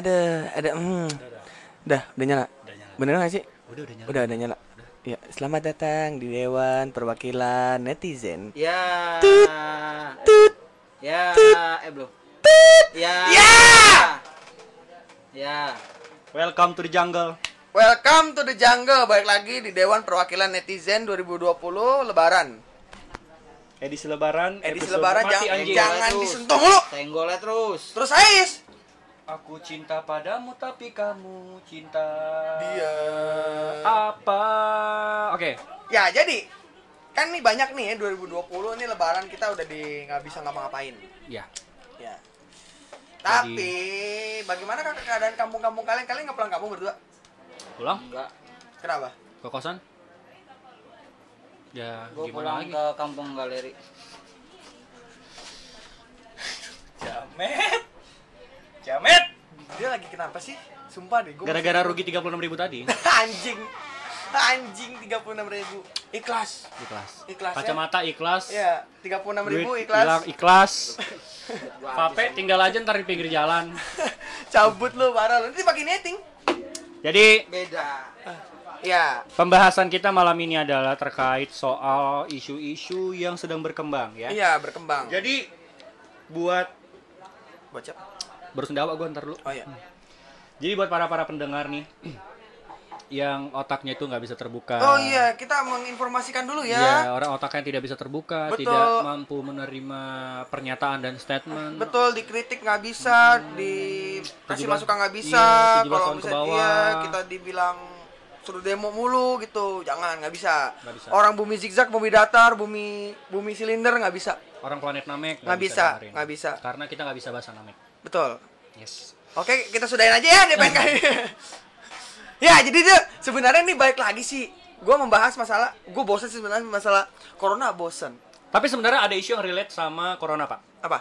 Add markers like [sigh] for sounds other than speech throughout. Ada, ada. Hmm. Udah, udah nyala. Bener gak sih? Udah udah nyala. Udah, udah nyala. Ya, selamat datang di Dewan Perwakilan Netizen. Ya. Ya, eh belum. Ya. Ya. Ya. Welcome to the jungle. Welcome to the jungle, balik lagi di Dewan Perwakilan Netizen 2020 Lebaran. Edisi Lebaran, Edisi episode Lebaran mati, jangan- anjing. jangan- Tenggolnya terus. disentuh mulu. Tenggolnya terus. Terus Ais. Aku cinta padamu tapi kamu cinta Dia. apa? Oke, Ya jadi kan nih banyak nih ya 2020 ini Lebaran kita udah di nggak bisa ngapa-ngapain. ya. Ya. Tapi bagaimana kakak keadaan kampung-kampung kalian? Kalian nggak pulang kampung berdua? Pulang Enggak. Kenapa? ke kosan? Ya, Gue pulang gimana lagi? ke kampung galeri. Jamet. Jamet. Dia lagi kenapa sih? Sumpah deh, gue Gara-gara rugi 36.000 tadi anjing, anjing 36.000 ribu ikhlas. ikhlas. Ikhlas, ya? Kacamata ikhlas. Ya, 36.000 [laughs] Duit hilang ikhlas. ikhlas. Gua Vape tinggal aja ntar di pinggir jalan. Cabut lu parah lu. Nanti pakai netting. Jadi Beda. Ya, pembahasan kita malam ini adalah terkait soal isu-isu yang sedang berkembang ya. Iya berkembang. Jadi buat Baca. baru sendawa gue ntar dulu. Oh iya. Jadi buat para para pendengar nih [clears throat] yang otaknya itu nggak bisa terbuka. Oh iya, kita menginformasikan dulu ya. Iya, orang otaknya tidak bisa terbuka, Betul. tidak mampu menerima pernyataan dan statement. Betul dikritik nggak bisa, dikasih 17 masukan nggak bisa. iya, 17 Kalau tahun ke misalnya bawah. iya, kita dibilang suruh demo mulu gitu, jangan nggak bisa. Nggak bisa. Orang bumi zigzag, bumi datar, bumi bumi silinder nggak bisa. Orang planet Namek Nggak bisa, dengerin. nggak bisa. Karena kita nggak bisa bahasa Namek. Betul. Yes. Oke, kita sudahin aja ya DPN kali. [laughs] ya, jadi tuh sebenarnya ini baik lagi sih. Gue membahas masalah, gue bosen sih sebenarnya masalah corona bosen. Tapi sebenarnya ada isu yang relate sama corona pak. Apa?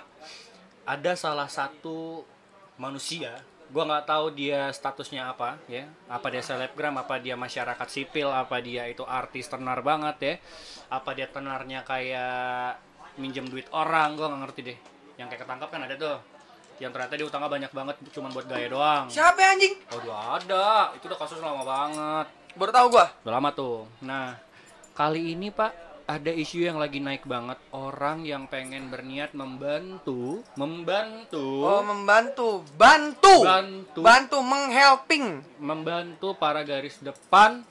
Ada salah satu manusia, gua nggak tahu dia statusnya apa ya. Apa dia selebgram, apa dia masyarakat sipil, apa dia itu artis tenar banget ya. Apa dia tenarnya kayak minjem duit orang, gua nggak ngerti deh. Yang kayak ketangkap kan ada tuh. Yang ternyata dia utangnya banyak banget cuman buat gaya doang. Siapa ya, anjing? Waduh ada, itu udah kasus lama banget. Baru tahu gue. Udah lama tuh. Nah, kali ini Pak ada isu yang lagi naik banget orang yang pengen berniat membantu, membantu, Oh, membantu, bantu, Bantu. bantu menghelping. membantu para garis depan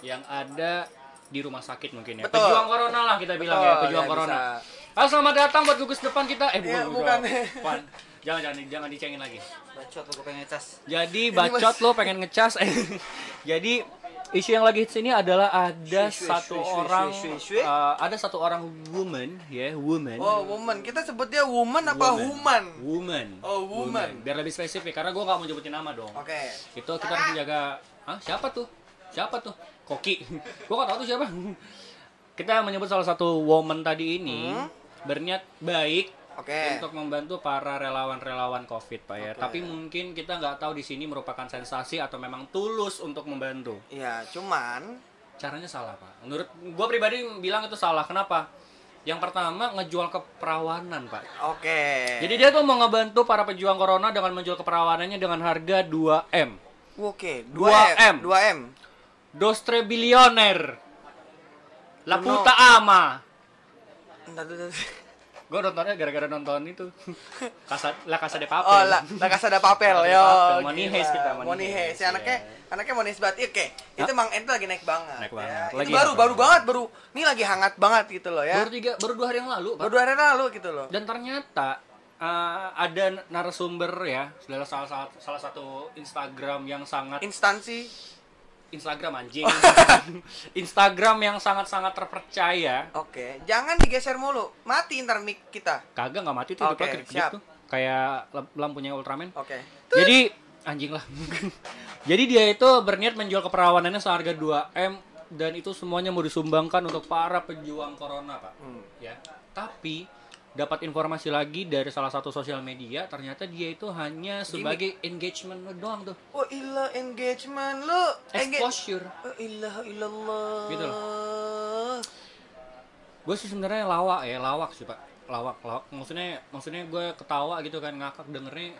yang ada di rumah sakit mungkin ya. Betul. Pejuang corona lah kita bilang Betul, ya, pejuang ya, corona. bisa. Ah, selamat datang buat gugus depan kita. Eh, Iya, bukan, bukan. Depan. Jangan jangan jangan dicengin lagi. Bacot lu gue pengen ngecas. Jadi bacot lo pengen ngecas. [laughs] Jadi isu yang lagi sini adalah ada Shui, shui, satu shui, shui, orang shui, shui. eh, ada satu orang woman ya, woman. Oh, woman. Kita sebut dia woman apa human? Woman. Oh, woman. Biar lebih spesifik karena gua nggak mau nyebutin nama dong. Oke. Itu kita harus menjaga Hah, siapa tuh? Siapa tuh? Koki. [laughs] gua nggak tahu tuh siapa. [laughs] Kita menyebut salah satu woman tadi ini berniat baik Hmm? Oke. untuk membantu para relawan-relawan COVID, Pak ya. Tapi mungkin kita nggak tahu di sini merupakan sensasi atau memang tulus untuk membantu. Ya, Iya, cuman Caranya salah, Pak. Menurut gua pribadi bilang itu salah. Kenapa? Yang pertama ngejual keperawanan, Pak. oke. Jadi dia tuh mau ngebantu para pejuang corona dengan menjual keperawanannya dengan harga 2M. Oke, 2M. 2M. 2M. Dostre bilioner. La No. puta ama. Entar dulu. Gue nontonnya gara-gara nonton itu. [laughs] Kasa, la Casa de [laughs] Papel. Oh, la, la Casa de Papel, La Casa de yo. Papel. Money gila. heist kita, money Money heist. heist, iya. Ya. Ya, anaknya, anaknya money heist banget. Iya, Oke, itu emang itu lagi naik banget. Naik ya. banget. Itu Lagi baru, naik baru banget. banget, baru. Ini lagi hangat banget gitu loh ya. Baru tiga, baru dua hari yang lalu, Pak. Baru dua hari lalu gitu loh. Dan ternyata eh, ada narasumber ya, salah salah salah, salah satu Instagram yang sangat Instansi. Instagram anjing. [laughs] Instagram yang sangat-sangat terpercaya. Oke, jangan digeser mulu. Mati ntar mic kita. Kagak nggak mati tuh Oke, okay, siap. tuh. Kayak lamp- lampunya Ultraman. Oke. Jadi anjing lah. [laughs] Jadi dia itu berniat menjual keperawanannya seharga 2M dan itu semuanya mau disumbangkan untuk para pejuang corona, Pak. Ya. Tapi dapat informasi lagi dari salah satu sosial media ternyata dia itu hanya sebagai engagement doang tuh. Oh ilah engagement lu engage. Exposure. Oh ilah ilallah. Gitu Gue sih sebenarnya lawak ya, lawak sih, Pak. Lawak, lawak. Maksudnya maksudnya gue ketawa gitu kan ngakak dengernya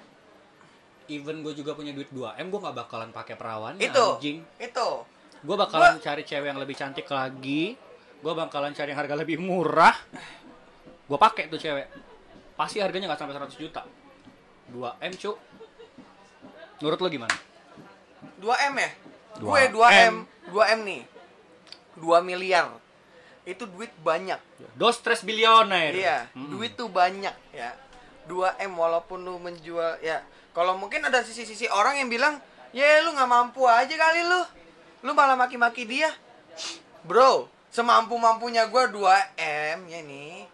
even gue juga punya duit 2 m gue nggak bakalan pakai perawan itu anjing itu gue bakalan cari cewek yang lebih cantik lagi gue bakalan cari yang harga lebih murah gue pakai tuh cewek pasti harganya nggak sampai 100 juta 2 m cu menurut lo gimana 2 m ya Dua gue 2 m M. 2 m nih 2 miliar itu duit banyak dos tres bilioner Iya, Mm-mm. duit tuh banyak ya. 2M walaupun lu menjual ya. Kalau mungkin ada sisi-sisi orang yang bilang, "Ya lu nggak mampu aja kali lu. Lu malah maki-maki dia." Bro, semampu-mampunya gua 2M ya nih.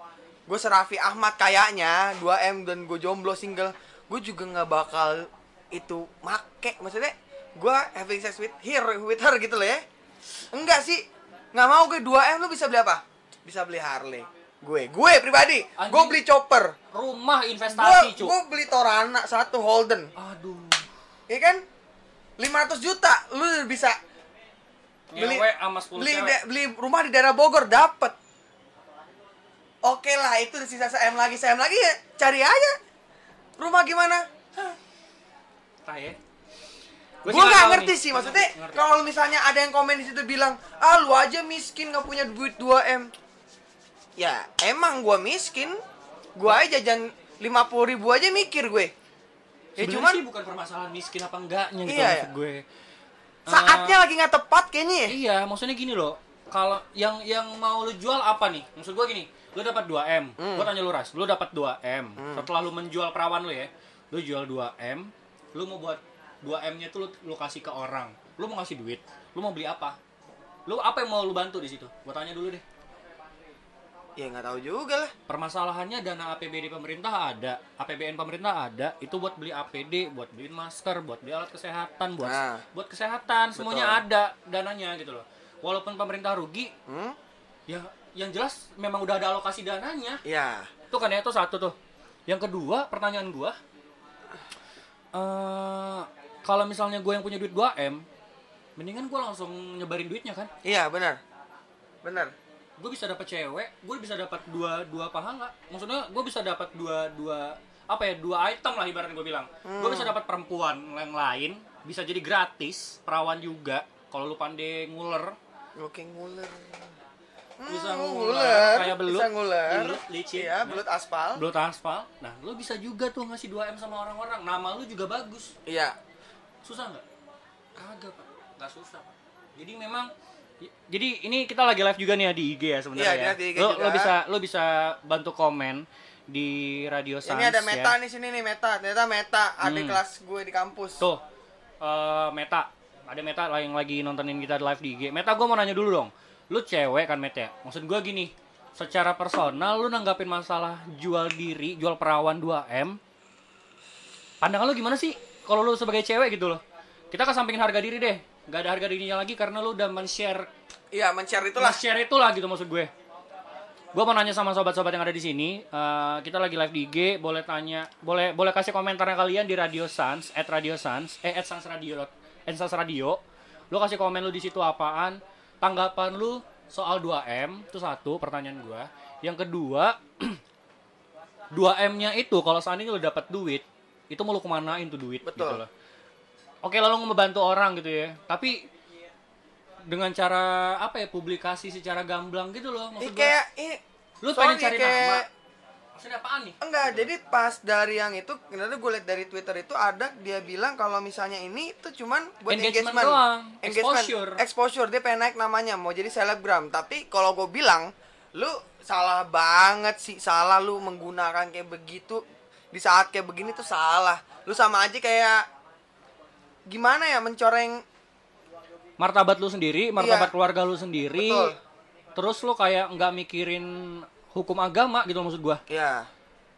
Gue Serafi Ahmad kayaknya 2M dan gue jomblo single. Gue juga nggak bakal itu make maksudnya gua having sex with her with her gitu loh ya. Enggak sih. Nggak mau gue 2M lu bisa beli apa? Bisa beli Harley. Gue, gue pribadi, Anjing. gue beli chopper. rumah Gue investasi cu gue beli Torana satu Holden. aduh Iya kan? 500 juta lu bisa Beli- ngewe sama 10 beli cewek da- beli rumah di daerah Bogor dapet oke lah itu udah sisa SM lagi SM lagi ya cari aja rumah gimana Tai ya. gue sih nggak tahu ngerti nih. sih maksudnya Ngerti. kalau misalnya ada yang komen di situ bilang ah lu aja miskin nggak punya duit 2 m ya emang gua miskin gua aja jajan 50.000 ribu aja mikir gue ya Sebenarnya cuman sih bukan permasalahan miskin apa enggaknya gitu Iya, maksud iya. gue saatnya lagi nggak tepat kayaknya ya. iya maksudnya gini loh kalau yang yang mau lu jual apa nih maksud gue gini lu dapat 2 m gue tanya lu ras lu dapat 2 m setelah lu menjual perawan lu ya lu jual 2 m lu mau buat 2 m nya tuh lu, lu kasih ke orang lu mau ngasih duit lu mau beli apa lu apa yang mau lu bantu di situ gue tanya dulu deh ya nggak tahu juga lah Permasalahannya dana APBD pemerintah ada, APBN pemerintah ada, itu buat beli APD, buat beliin masker, buat beli alat kesehatan, buat Nah. buat kesehatan, semuanya ada dananya gitu loh. Walaupun pemerintah rugi, hmm? ya yang jelas memang udah ada alokasi dananya. ya Itu kan ya itu satu tuh. Yang kedua, pertanyaan gua eh kalau misalnya gue yang punya duit 2M, mendingan gua langsung nyebarin duitnya kan. iya benar benar gue bisa dapat cewek gue bisa dapat dua dua pahala maksudnya gue bisa dapat dua dua apa ya dua item lah ibaratnya gue bilang gue Hmm. bisa dapat perempuan yang lain bisa jadi gratis perawan juga kalau lu pandai nguler Oke nguler. Bisa Hmm, nguler, kayak belut. Bisa nguler. Belut, licin. Iya, belut aspal. belum aspal nah lu bisa juga tuh ngasih 2 m sama orang-orang nama lu juga bagus Iya. susah nggak kagak pak nggak susah pak jadi memang jadi ini kita lagi live juga nih ya di IG ya sebenarnya Iya, ya. kita di IG Lu- juga. lu bisa lu bisa bantu komen di radio Sans Ini ada ya. meta nih sini nih meta. Ternyata meta adik Hmm. kelas gue di kampus. Tuh, eh, Meta. Ada Meta lah yang lagi nontonin kita live di IG. Meta, gue mau nanya dulu dong. Lu cewek kan, Meta? Maksud gue gini, secara personal lu nanggapin masalah jual diri, jual perawan 2M. Pandangan lu gimana sih kalau lu sebagai cewek gitu loh? Kita kesampingin harga diri deh. Gak ada harga dirinya lagi karena lu udah men-share Iya, men-share itulah. share itulah gitu maksud gue. Gue mau nanya sama sobat-sobat yang ada di sini, eh, kita lagi live di IG, boleh tanya, boleh boleh kasih komentarnya kalian di Radio Sans, at Radio Sans, eh at Sans Radio, at Sans Radio. Lu kasih komen lu di situ apaan, tanggapan lu soal 2M, itu satu pertanyaan gue. Yang kedua, [clears throat] 2M-nya itu kalau seandainya lu dapat duit, itu mau lu kemanain tuh duit Betul. gitu loh. Oke, lalu mau membantu orang gitu ya. Tapi dengan cara apa ya publikasi secara gamblang gitu loh Ini maksud gua. kayak ini sorry, Lu ya, pengen cari kayak- nama. Maksudnya apaan nih? Enggak, jadi pas dari yang itu, ternyata gue liat dari Twitter itu ada dia bilang kalau misalnya ini tuh cuman buat engagement, Engagement doang, engagement, exposure. exposure dia pengen naik namanya, mau jadi selebgram. Tapi kalau gue bilang, lu salah banget sih, salah lu menggunakan kayak begitu di saat kayak begini tuh salah. Lu sama aja kayak gimana ya mencoreng Martabat lu sendiri, martabat Iya. keluarga lu sendiri. Betul. Terus lu kayak nggak mikirin hukum agama gitu loh maksud gua. ya,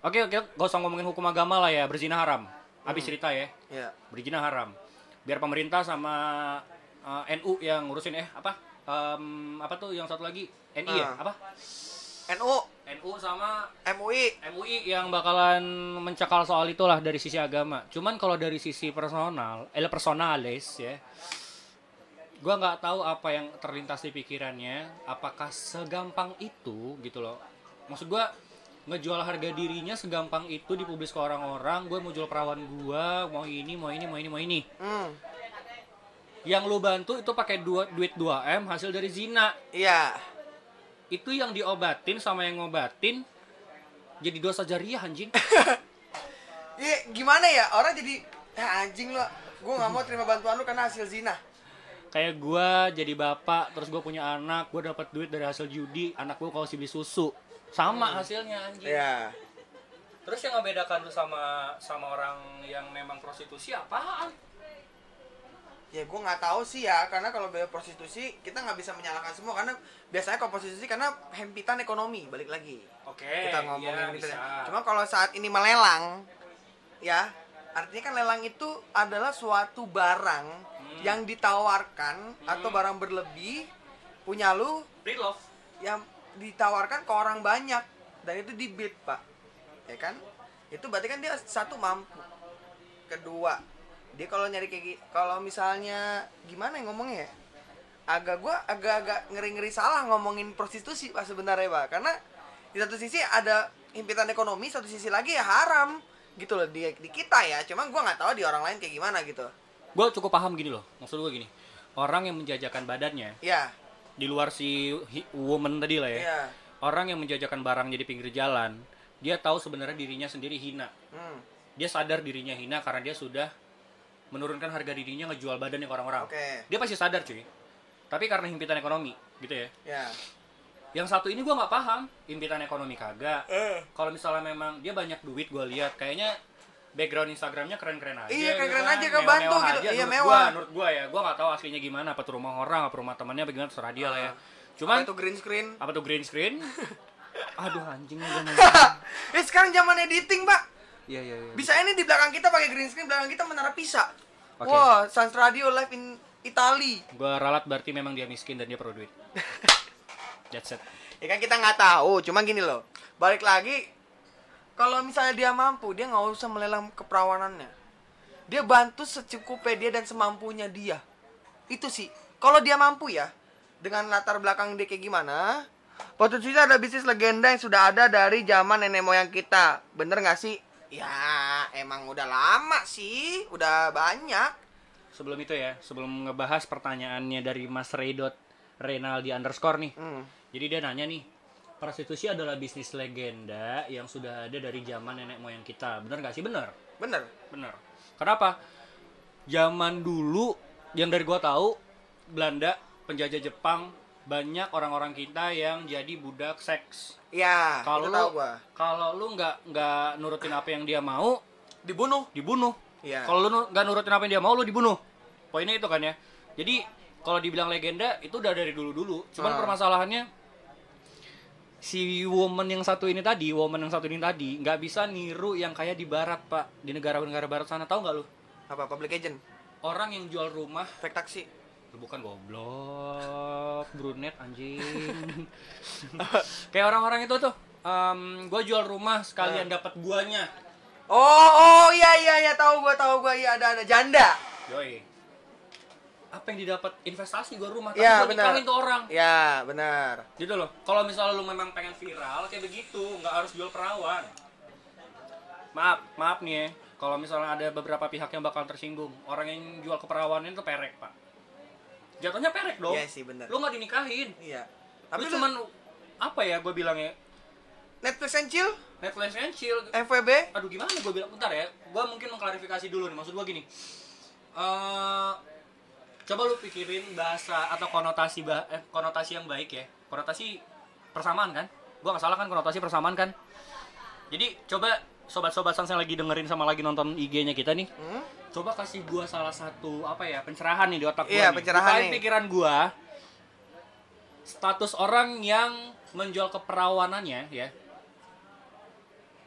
Oke, oke, gak usah ngomongin hukum agama lah ya, berzina haram. Habis cerita ya. ya. berzina haram. Biar pemerintah sama uh, NU yang ngurusin eh apa? Em, apa tuh yang satu lagi? NI ya? Ah. Apa? NU, NU sama MUI, MUI yang bakalan mencekal soal itulah dari sisi agama. Cuman kalau dari sisi personal, eh personalis ya. Gua nggak tahu apa yang terlintas di pikirannya, apakah segampang itu gitu loh. Maksud gua ngejual harga dirinya segampang itu dipublis ke orang-orang gue mau jual perawan gue mau ini mau ini mau ini mau ini Hmm. yang lu bantu itu pakai dua, duit 2 m hasil dari zina Iya. itu yang diobatin sama yang ngobatin jadi dosa jariah [laughs] anjing Iya, gimana ya? Orang jadi "Ah, anjing lo. Gua nggak mau terima bantuan lu karena hasil zina. kayak gua jadi bapak terus gua punya anak gua dapat duit dari hasil judi anak gua kalau beli susu sama hasilnya anjing Hmm. Iya. terus yang ngebedakan lu sama sama orang yang memang prostitusi apaan Ya gua nggak tahu sih ya, karena kalau beda prostitusi kita nggak bisa menyalahkan semua karena biasanya kalau prostitusi karena hempitan ekonomi balik lagi. oke kita ngomongin iya, gitu bisa. ya. Cuma kalau saat ini melelang, ya artinya kan lelang itu adalah suatu barang yang ditawarkan atau barang berlebih punya lu Free love. yang ditawarkan ke orang banyak dan itu dibid pak, ya kan? Itu berarti kan dia satu mampu, kedua dia kalau nyari kayak gi- kalau misalnya gimana ya ngomongnya ya? agak gua agak-agak ngeri-ngeri salah ngomongin prostitusi pak sebenarnya pak karena di satu sisi ada himpitan ekonomi satu sisi lagi ya haram gitu loh di, di kita ya cuman gua nggak tahu di orang lain kayak gimana gitu gua cukup paham gini loh maksud gua gini orang yang menjajakan badannya ya di luar si hi- woman tadi lah ya ya orang yang menjajakan barangnya di pinggir jalan dia tahu sebenarnya dirinya sendiri hina hmm, dia sadar dirinya hina karena dia sudah menurunkan harga dirinya ngejual badannya ke orang-orang. oke Dia pasti sadar cuy. Tapi karena himpitan ekonomi gitu ya. ya Yang satu ini gua nggak paham himpitan ekonomi kagak. Eh. Kalau misalnya memang dia banyak duit gua lihat kayaknya background Instagramnya keren-keren aja. Iya, gitu keren-keren aja, Mewah-mewah kebantu gitu. aja Iya, menurut mewah. Gua, menurut gua ya, gua nggak tahu aslinya gimana, apa tuh rumah orang, apa rumah temannya, apa gimana terserah dia lah ya. Ah. Apa Cuman itu green screen apa tuh green [laughs] screen? Aduh anjing gua mau. eh sekarang zaman editing pak Iya iya iya. bisa ini di belakang kita pakai green screen belakang kita menara pisa Oke. wah sans radio live in Itali Gua ralat berarti memang dia miskin dan dia [laughs] perlu duit. That's it. ya kan kita nggak tahu cuma gini loh balik lagi kalau misalnya dia mampu dia nggak usah melelang keperawanannya dia bantu secukupnya dia dan semampunya dia itu sih kalau dia mampu ya dengan latar belakang dia kayak gimana potensi ada bisnis legenda yang sudah ada dari zaman nenek moyang kita bener nggak sih ya emang udah lama sih udah banyak Sebelum itu ya, sebelum ngebahas pertanyaannya dari Mas Redot Renaldi underscore nih. hmm. Jadi dia nanya nih, prostitusi adalah bisnis legenda yang sudah ada dari zaman nenek moyang kita. Bener gak sih? Bener. bener Bener. Kenapa? Zaman dulu yang dari gua tahu Belanda penjajah Jepang banyak orang-orang kita yang jadi budak seks. ya itu Kalau lu tahu gua kalau lu nggak nggak nurutin apa yang dia mau, dibunuh dibunuh. ya Kalau lu nu- nggak nurutin apa yang dia mau, lu dibunuh. Poinnya itu kan ya. Jadi kalau dibilang legenda itu udah dari dulu-dulu. Cuman Ah. permasalahannya si woman yang satu ini tadi, woman yang satu ini tadi nggak bisa niru yang kayak di barat pak, di negara-negara barat sana tahu nggak lu? apa public agent Orang yang jual rumah, efek taksi lu bukan goblok, brunet anjing. [laughs] kayak orang-orang itu tuh, em, gua jual rumah sekalian Ah. dapat guanya. Oh, oh, iya iya iya tahu gua tahu gua iya ada ada janda. Yoi. Apa yang didapat investasi gua rumah tapi Iya, gua benar. nikahin tuh orang. Ya, benar. Gitu loh. Kalau misalnya lu memang pengen viral kayak begitu, nggak harus jual perawan. Maaf, maaf nih ya. Kalau misalnya ada beberapa pihak yang bakal tersinggung, orang yang jual keperawanan itu perek, Pak. Jatuhnya perek dong. Iya sih, benar. Lu nggak dinikahin. Iya. Tapi Tapi lu cuman apa ya gue bilangnya? Netflix and chill, Netflix and chill. FWB. aduh gimana gue bilang bentar ya gue mungkin mengklarifikasi dulu nih maksud gue gini Eh, coba lu pikirin bahasa atau konotasi bah eh, konotasi yang baik ya konotasi persamaan kan gue nggak salah kan konotasi persamaan kan jadi coba sobat-sobat sans yang lagi dengerin sama lagi nonton IG-nya kita nih Hmm? coba kasih gua salah satu apa ya pencerahan nih di otak gua Iya, nih. pencerahan Bukain nih. pikiran gua status orang yang menjual keperawanannya ya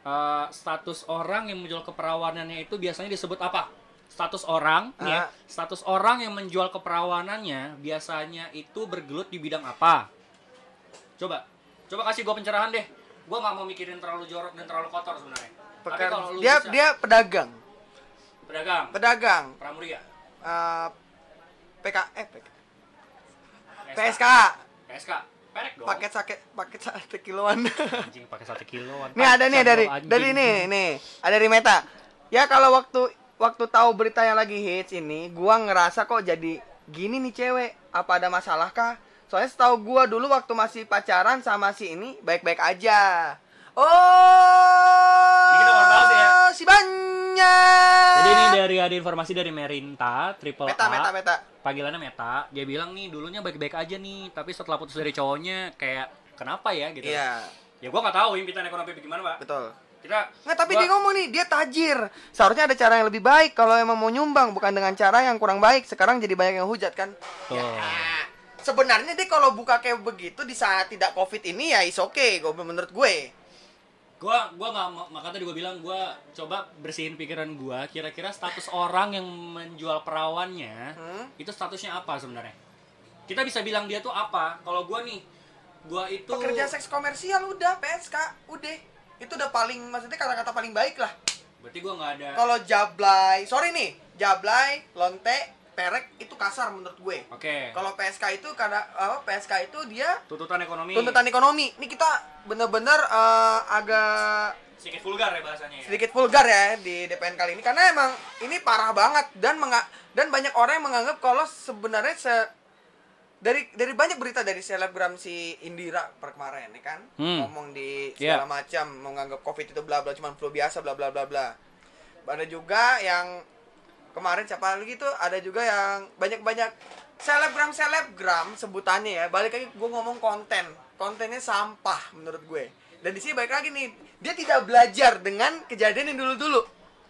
Eh, status orang yang menjual keperawanannya itu biasanya disebut apa status orang nih ya Ah. status orang yang menjual keperawanannya biasanya itu bergelut di bidang apa coba coba kasih gua pencerahan deh gua nggak mau mikirin terlalu jorok dan terlalu kotor sebenarnya Tapi Pekan- kalau lu Dia bisa- dia pedagang. pedagang Pedagang. pramuria Eh PK eh PK. PSK PSK. PSK perek dong paket sake paket sate kiloan [laughs] anjing pakai satu kiloan nih ada nih Kacau, dari anjing. dari nih nih ada dari Meta ya kalau waktu waktu tahu berita yang lagi hits ini gua ngerasa kok jadi gini nih cewek apa ada masalah kah soalnya setahu gua dulu waktu masih pacaran sama si ini baik-baik aja oh Ini kita baru tahu sih ya. si banyak jadi ini Oh, ah. dari ada informasi dari Merinta triple Meta A Meta Meta panggilannya Meta dia bilang nih dulunya baik-baik aja nih tapi setelah putus dari cowoknya kayak kenapa ya gitu iya ya gua nggak tahu impitan ekonomi gimana pak betul kita Nggak, tapi gua- dia ngomong nih, dia tajir. Seharusnya ada cara yang lebih baik kalau emang mau nyumbang, bukan dengan cara yang kurang baik. Sekarang jadi banyak yang hujat kan? Tuh. Ah, Sebenarnya dia kalau buka kayak begitu di saat tidak covid ini ya is oke, gue menurut gue. gua gua nggak mau- maka tadi gua bilang gua coba bersihin pikiran gua kira-kira status orang yang menjual perawannya Hmm? itu statusnya apa sebenarnya kita bisa bilang dia tuh apa kalau gua nih gua itu Pekerja seks komersial udah, PSK udah. Itu udah paling maksudnya kata-kata paling baik lah. berarti gua nggak ada oke Kalau jablay, sorry nih, jablay, lonte, perek itu kasar menurut gue. Kalau PSK itu karena apa, PSK itu dia tuntutan ekonomi tuntutan ekonomi. Ini kita bener-bener eh, agak sedikit vulgar ya bahasanya ya? sedikit vulgar ya di DPN kali ini karena emang ini parah banget dan menga- dan banyak orang yang menganggap kalau sebenarnya se- dari dari banyak berita dari selebgram si Indira per kemarin ya kan Hmm. ngomong di Yeah. segala macam menganggap covid itu bla bla cuman flu biasa bla bla bla bla ada juga yang kemarin siapa lagi tuh ada juga yang banyak banyak selebgram selebgram sebutannya ya balik lagi gue ngomong konten kontennya sampah menurut gue dan di sini balik lagi nih dia tidak belajar dengan kejadian yang dulu dulu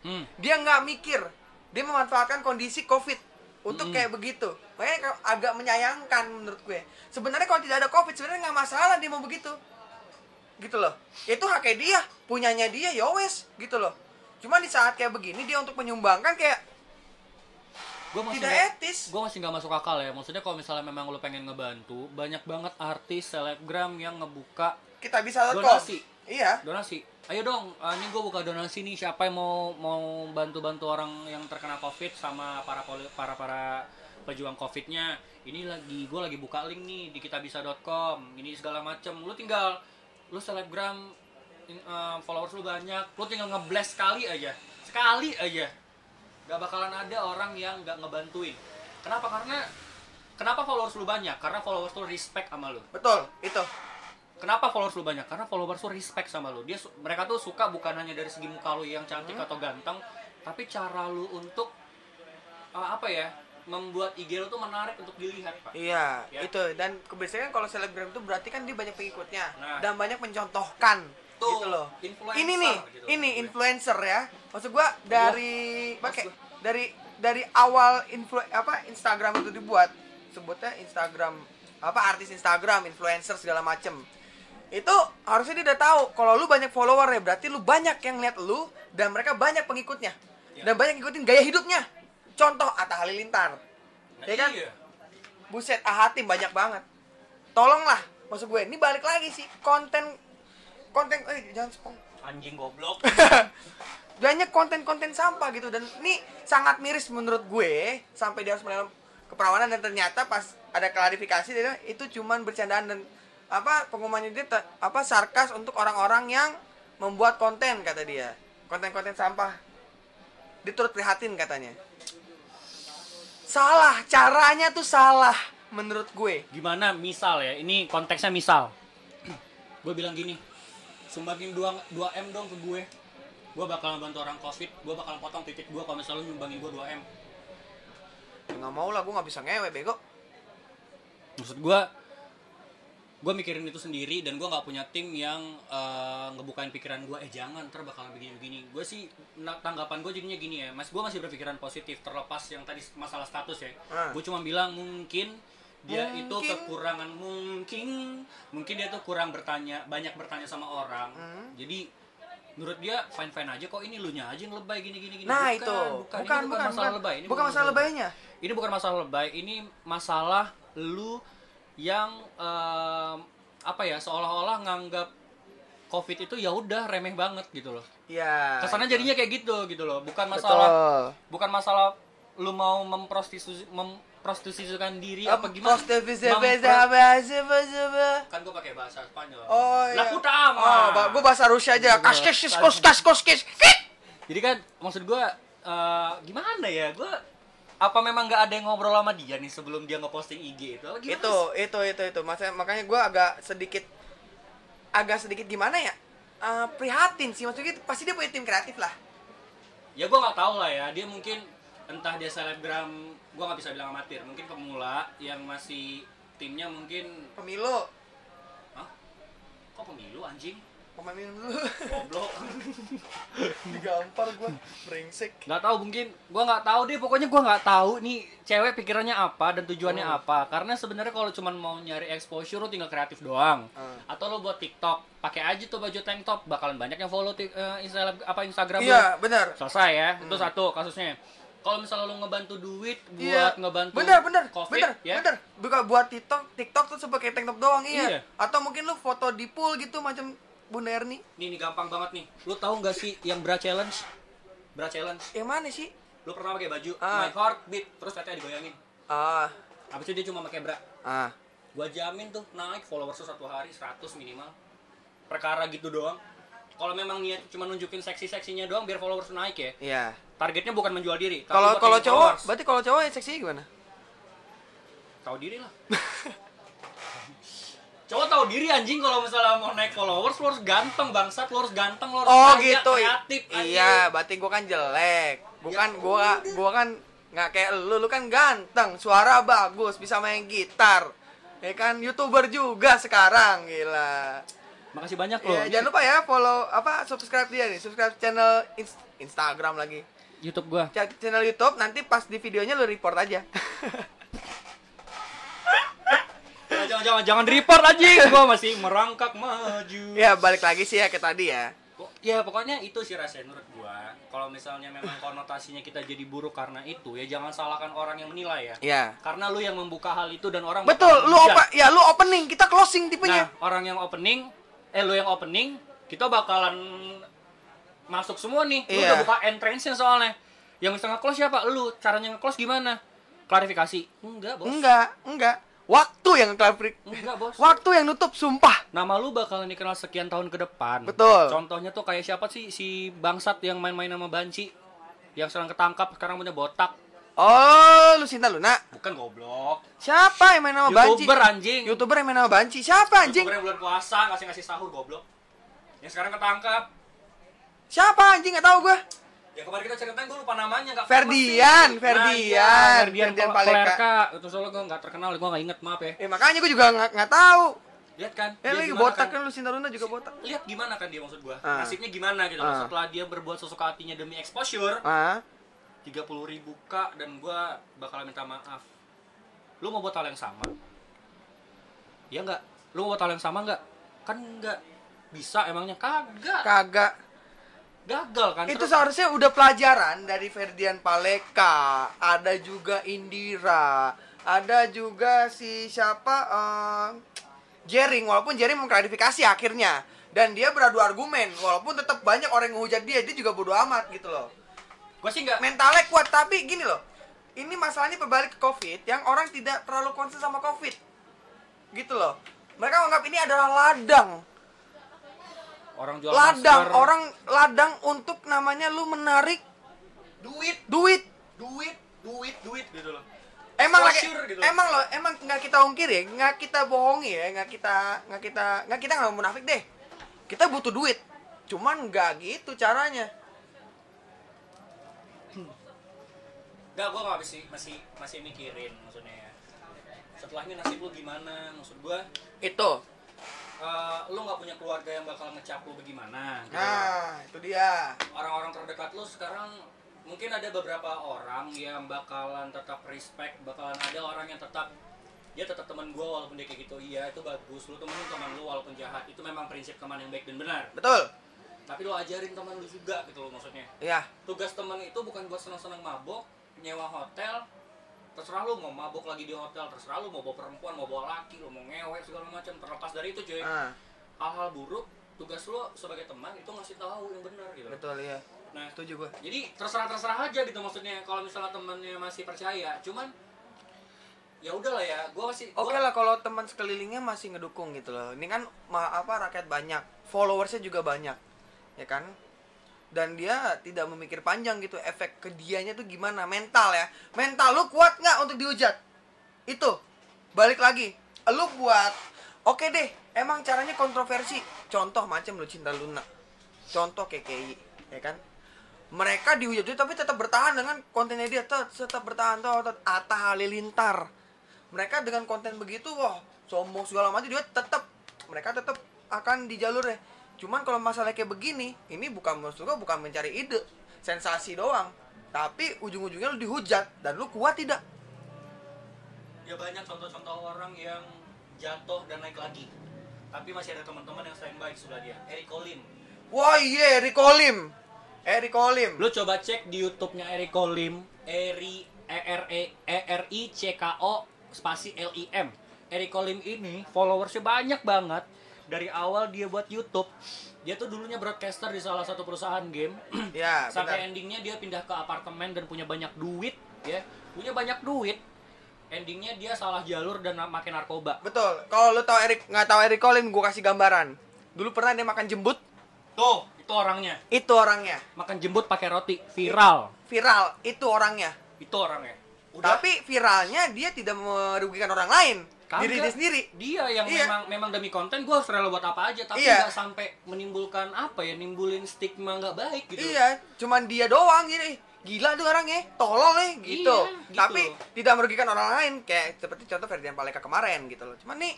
Hmm. dia nggak mikir dia memanfaatkan kondisi covid untuk kayak begitu makanya ka- agak menyayangkan menurut gue sebenarnya kalau tidak ada covid sebenarnya nggak masalah dia mau begitu gitu loh itu haknya dia punyanya dia ya wes gitu loh cuma di saat kayak begini dia untuk menyumbangkan kayak Gua masih tidak nggak- etis gue masih nggak masuk akal ya maksudnya kalau misalnya memang lo pengen ngebantu banyak banget artis selebgram yang ngebuka kita bisa Donasi. iya donasi ayo dong eh, ini gue buka donasi nih siapa yang mau mau bantu bantu orang yang terkena covid sama para poli- para para pejuang covidnya ini lagi gue lagi buka link nih di kitabisa.com ini segala macem lu tinggal lu selebgram in- eh, followers lu banyak lu tinggal ngeblast sekali aja sekali aja gak bakalan ada orang yang gak ngebantuin kenapa karena kenapa followers lu banyak karena followers lu respect sama lu betul itu Kenapa followers lu banyak? Karena followers lu respect sama lu. Dia su- mereka tuh suka bukan hanya dari segi muka lu yang cantik atau ganteng, tapi cara lu untuk eh, apa ya? Membuat IG lu tuh menarik untuk dilihat, Pak. iya Ya. itu dan kebiasaan kalau selebgram itu berarti kan dia banyak pengikutnya Nah. dan banyak mencontohkan Tuh, gitu loh influencer ini nih gitu. ini influencer ya maksud gua dari pakai dari dari awal influ apa Instagram itu dibuat sebutnya Instagram apa artis Instagram influencer segala macem itu harusnya dia udah tahu kalau lu banyak follower ya berarti lu banyak yang lihat lu dan mereka banyak pengikutnya Ya. dan banyak ngikutin gaya hidupnya contoh Atta Halilintar Nah, ya kan iya. buset ahatim banyak banget tolonglah maksud gue ini balik lagi sih konten konten eh jangan spong Anjing goblok. [laughs] banyak konten-konten sampah gitu dan ini sangat miris menurut gue sampai dia harus mendalam keperawanan dan ternyata pas ada klarifikasi dia bilang, itu cuman bercandaan dan apa pengumumannya dia te- apa sarkas untuk orang-orang yang membuat konten kata dia konten-konten sampah dia turut prihatin katanya salah caranya tuh salah menurut gue Gimana misal ya? Ini konteksnya misal. [clears throat] gue bilang gini, sumbangin 2 2 m dong ke gue. Gue bakalan bantu orang covid, gue bakalan potong titik gue kalau misalnya lu nyumbangin gue 2 m. Ya nggak mau lah gue nggak bisa ngewe bego maksud gua gue mikirin itu sendiri dan gua nggak punya tim yang eh, ngebukain pikiran gua eh jangan ntar bakalan begini-begini gue sih na- tanggapan gue jadinya gini ya mas gue masih berpikiran positif terlepas yang tadi masalah status ya Hmm. gue cuma bilang mungkin dia itu Mungkin. kekurangan mungkin mungkin dia tuh kurang bertanya banyak bertanya sama orang jadi menurut dia fine fine aja kok ini lu nya aja yang lebay gini gini gini nah Bukan, itu bukan, Ini bukan, masalah lebay ini bukan masalah lebaynya ini bukan masalah lebay ini masalah lu yang em, apa ya seolah-olah nganggap covid itu ya udah remeh banget gitu loh ya kesannya itu. jadinya kayak gitu gitu loh bukan masalah bukan masalah lu mau memprostitusi memprostitusikan diri apa gimana? Mempro- gimana? kan gua pakai bahasa Spanyol. Oh iya. Lah utama. Oh, ba- gua bahasa Rusia aja. Iya, Kas kes kes tadi. kos kas kos kes. Kit! Jadi kan maksud gua eh, gimana ya? Gua apa memang nggak ada yang ngobrol sama dia nih sebelum dia ngeposting IG itu? Apa gimana Itu, itu, itu, itu. Maksudnya, makanya gua agak sedikit agak sedikit gimana ya? Eh, prihatin sih maksudnya gitu, pasti dia punya tim kreatif lah. ya gua nggak tahu lah ya dia mungkin entah dia selebgram gua nggak bisa bilang amatir mungkin pemula yang masih timnya mungkin Pemilu, Hah? kok pemilu anjing pemilu dulu. goblok [laughs] Digampar gua, brengsek. nggak tahu mungkin gua nggak tahu deh pokoknya gua nggak tahu nih cewek pikirannya apa dan tujuannya Hmm. apa karena sebenarnya kalau cuman mau nyari exposure lo tinggal kreatif doang Hmm. atau lo buat TikTok pakai aja tuh baju tank top bakalan banyak yang follow tik- eh, Instagram apa Instagram lo. Iya, Hmm. benar. selesai ya itu satu kasusnya kalau misalnya lu ngebantu duit buat ngebantu Iya. bener bener covid bener ya bener buka buat TikTok TikTok tuh sebagai tank top doang iya. Iya. atau mungkin lu foto di pool gitu macam Bunda Erni nih nih gampang banget nih lu tahu nggak sih yang bra challenge bra challenge yang mana sih lu pernah pakai baju Ah. my heart beat terus katanya digoyangin ah habis itu dia cuma pakai bra ah gua jamin tuh naik followers satu hari 100 minimal perkara gitu doang kalau memang niat cuma nunjukin seksi-seksinya doang biar followers naik ya iya targetnya bukan menjual diri tapi kalau buat kalau naikin cowok followers. berarti kalau cowok yang seksinya gimana tahu diri lah [laughs] cowok tahu diri anjing kalau misalnya mau naik followers lo harus ganteng bangsat lo harus ganteng lo harus oh kaya, gitu kreatif anjing. iya Ya berarti gua kan jelek bukan gua gua kan nggak kayak lu lu kan ganteng suara bagus bisa main gitar ya kan youtuber juga sekarang gila makasih banyak lo Iya, jangan lupa ya follow apa subscribe dia nih, subscribe channel Ins- Instagram lagi. YouTube gua Cha- Channel YouTube nanti pas di videonya lu report aja. [laughs] jangan jangan jangan di report anjing gua masih merangkak maju ya balik lagi sih ya ke tadi ya. Po- ya pokoknya itu sih rasanya menurut gua kalau misalnya [laughs] memang konotasinya kita jadi buruk karena itu ya jangan salahkan orang yang menilai ya Ya. karena lu yang membuka hal itu dan orang bakal Betul, lu menghujat. open ya lu opening, kita closing Nah, tipenya. orang yang opening, eh lu yang opening, kita bakalan masuk semua nih. Lu Iya. udah buka entrance-nya soalnya. Yang bisa nge-close siapa? Lu. Caranya nge-close gimana? Klarifikasi. Enggak, Bos. enggak, enggak. Waktu yang klafrik. Enggak, Bos. Waktu yang nutup sumpah. Nama lu bakalan dikenal sekian tahun ke depan. Betul. Contohnya tuh kayak siapa sih si bangsat yang main-main sama banci yang sekarang ketangkap sekarang punya botak. Oh, lu Sinta Luna. Bukan goblok. Siapa yang main nama Banci? YouTuber anjing. YouTuber yang main nama Banci. Siapa anjing? YouTuber yang bulan puasa ngasih-ngasih sahur goblok. Yang sekarang ketangkap. Siapa anjing Gak tahu gua. Ya kemarin kita ceritain gue lupa namanya nggak Ferdian, pasti. Ferdian, iya, Ferdian, Ferdian Ferdian Paleka. Paleka. Itu soalnya gue nggak terkenal, gue nggak inget maaf ya. Eh makanya gua juga nggak nggak tahu. Lihat kan? Eh dia lagi gimana botak kan? kan lu Sinta Luna juga botak. Lihat gimana kan dia maksud gue? Ah. Nasibnya gimana gitu? loh. Ah. Setelah dia berbuat sosok hatinya demi exposure, Ah. tiga puluh ribu k dan gue bakal minta maaf. Lu mau buat hal yang sama? Ya nggak? Lu mau buat hal yang sama nggak? Kan nggak bisa emangnya kagak Kagak. gagal kan Itu Terus- seharusnya udah pelajaran dari Ferdian Paleka, ada juga Indira, ada juga si siapa eh, Jering walaupun Jering mengklarifikasi akhirnya dan dia beradu argumen walaupun tetap banyak orang yang hujat dia dia juga bodo amat gitu loh. gue sih nggak Mentalnya kuat tapi gini loh. Ini masalahnya berbalik ke Covid yang orang tidak terlalu konsen sama Covid. Gitu loh. Mereka menganggap ini adalah ladang orang jual ladang masker. orang ladang untuk namanya lu menarik duit duit duit duit duit gitu loh emang lagi Exposure gitu. emang lo emang nggak kita ungkiri ya nggak kita bohongi ya nggak kita nggak kita nggak kita nggak munafik deh kita butuh duit cuman nggak gitu caranya Enggak, gue gak masih, masih, masih mikirin maksudnya ya. Setelahnya nasib lu gimana? Maksud gue, itu eh, lu gak punya keluarga yang bakal ngecap lu bagaimana gitu. nah itu dia Orang-orang terdekat lu sekarang mungkin ada beberapa orang yang bakalan tetap respect, bakalan ada orang yang tetap dia tetap teman gue walaupun dia kayak gitu iya itu bagus lu temenin teman lu walaupun jahat itu memang prinsip teman yang baik dan benar betul tapi lu ajarin teman lu juga gitu loh maksudnya ya tugas teman itu bukan buat senang-senang mabok, nyewa hotel, terserah lu mau mabok lagi di hotel, terserah lu mau bawa perempuan, mau bawa laki, lu mau ngewek segala macam. Terlepas dari itu cuy, ah, hal-hal buruk tugas lu sebagai teman itu ngasih tahu yang benar gitu. betul ya Nah, Setuju gue. jadi terserah-terserah aja gitu maksudnya kalau misalnya temennya masih percaya. Cuman ya udahlah ya, gua masih Oke gua- lah kalau teman sekelilingnya masih ngedukung gitu loh. Ini kan ma- apa rakyat banyak, followersnya juga banyak, ya kan? Dan dia tidak memikir panjang gitu efek ke dianya tuh gimana mental ya. Mental lu kuat nggak untuk dihujat? Itu balik lagi. Lu buat oke deh. Emang caranya kontroversi. Contoh macam lu cinta Luna. Contoh KKI, ya kan? mereka dihujat juga, tapi tetap bertahan dengan kontennya dia tet- tetap bertahan tuh Atta Halilintar mereka dengan konten begitu wah sombong segala macam dia tetap mereka tetap akan di jalurnya cuman kalau masalah kayak begini ini bukan maksud gua bukan mencari ide sensasi doang tapi ujung-ujungnya lu dihujat dan lu kuat tidak ya banyak contoh-contoh orang yang jatuh dan naik lagi. Tapi masih ada teman-teman yang standby sudah dia. Eric Colin. wah iya Eric Olim Eric Olim Lu coba cek di YouTube-nya Eric Olim, Eri E R E E R I C K O spasi L I M. Eric Olim ini followersnya banyak banget. Dari awal dia buat YouTube, dia tuh dulunya broadcaster di salah satu perusahaan game. ya [clears throat] sampai benar. endingnya dia pindah ke apartemen dan punya banyak duit ya punya banyak duit endingnya dia salah jalur dan na- makin narkoba betul kalau lu tahu Eric nggak tahu Eric Olim gua kasih gambaran dulu pernah dia makan jembut tuh itu orangnya itu orangnya makan jembut pakai roti viral viral itu orangnya itu orangnya Tapi viralnya dia tidak merugikan orang lain, Kagak. diri dia sendiri. dia yang Iya. memang memang demi konten gue harus rela buat apa aja tapi Iya. nggak sampai menimbulkan apa ya nimbulin stigma nggak baik gitu Iya, cuman dia doang jadi gila tuh orangnya, tolol nih gitu. gitu. Tapi tidak merugikan orang lain kayak seperti contoh Ferdian Paleka kemarin gitu loh. Cuman nih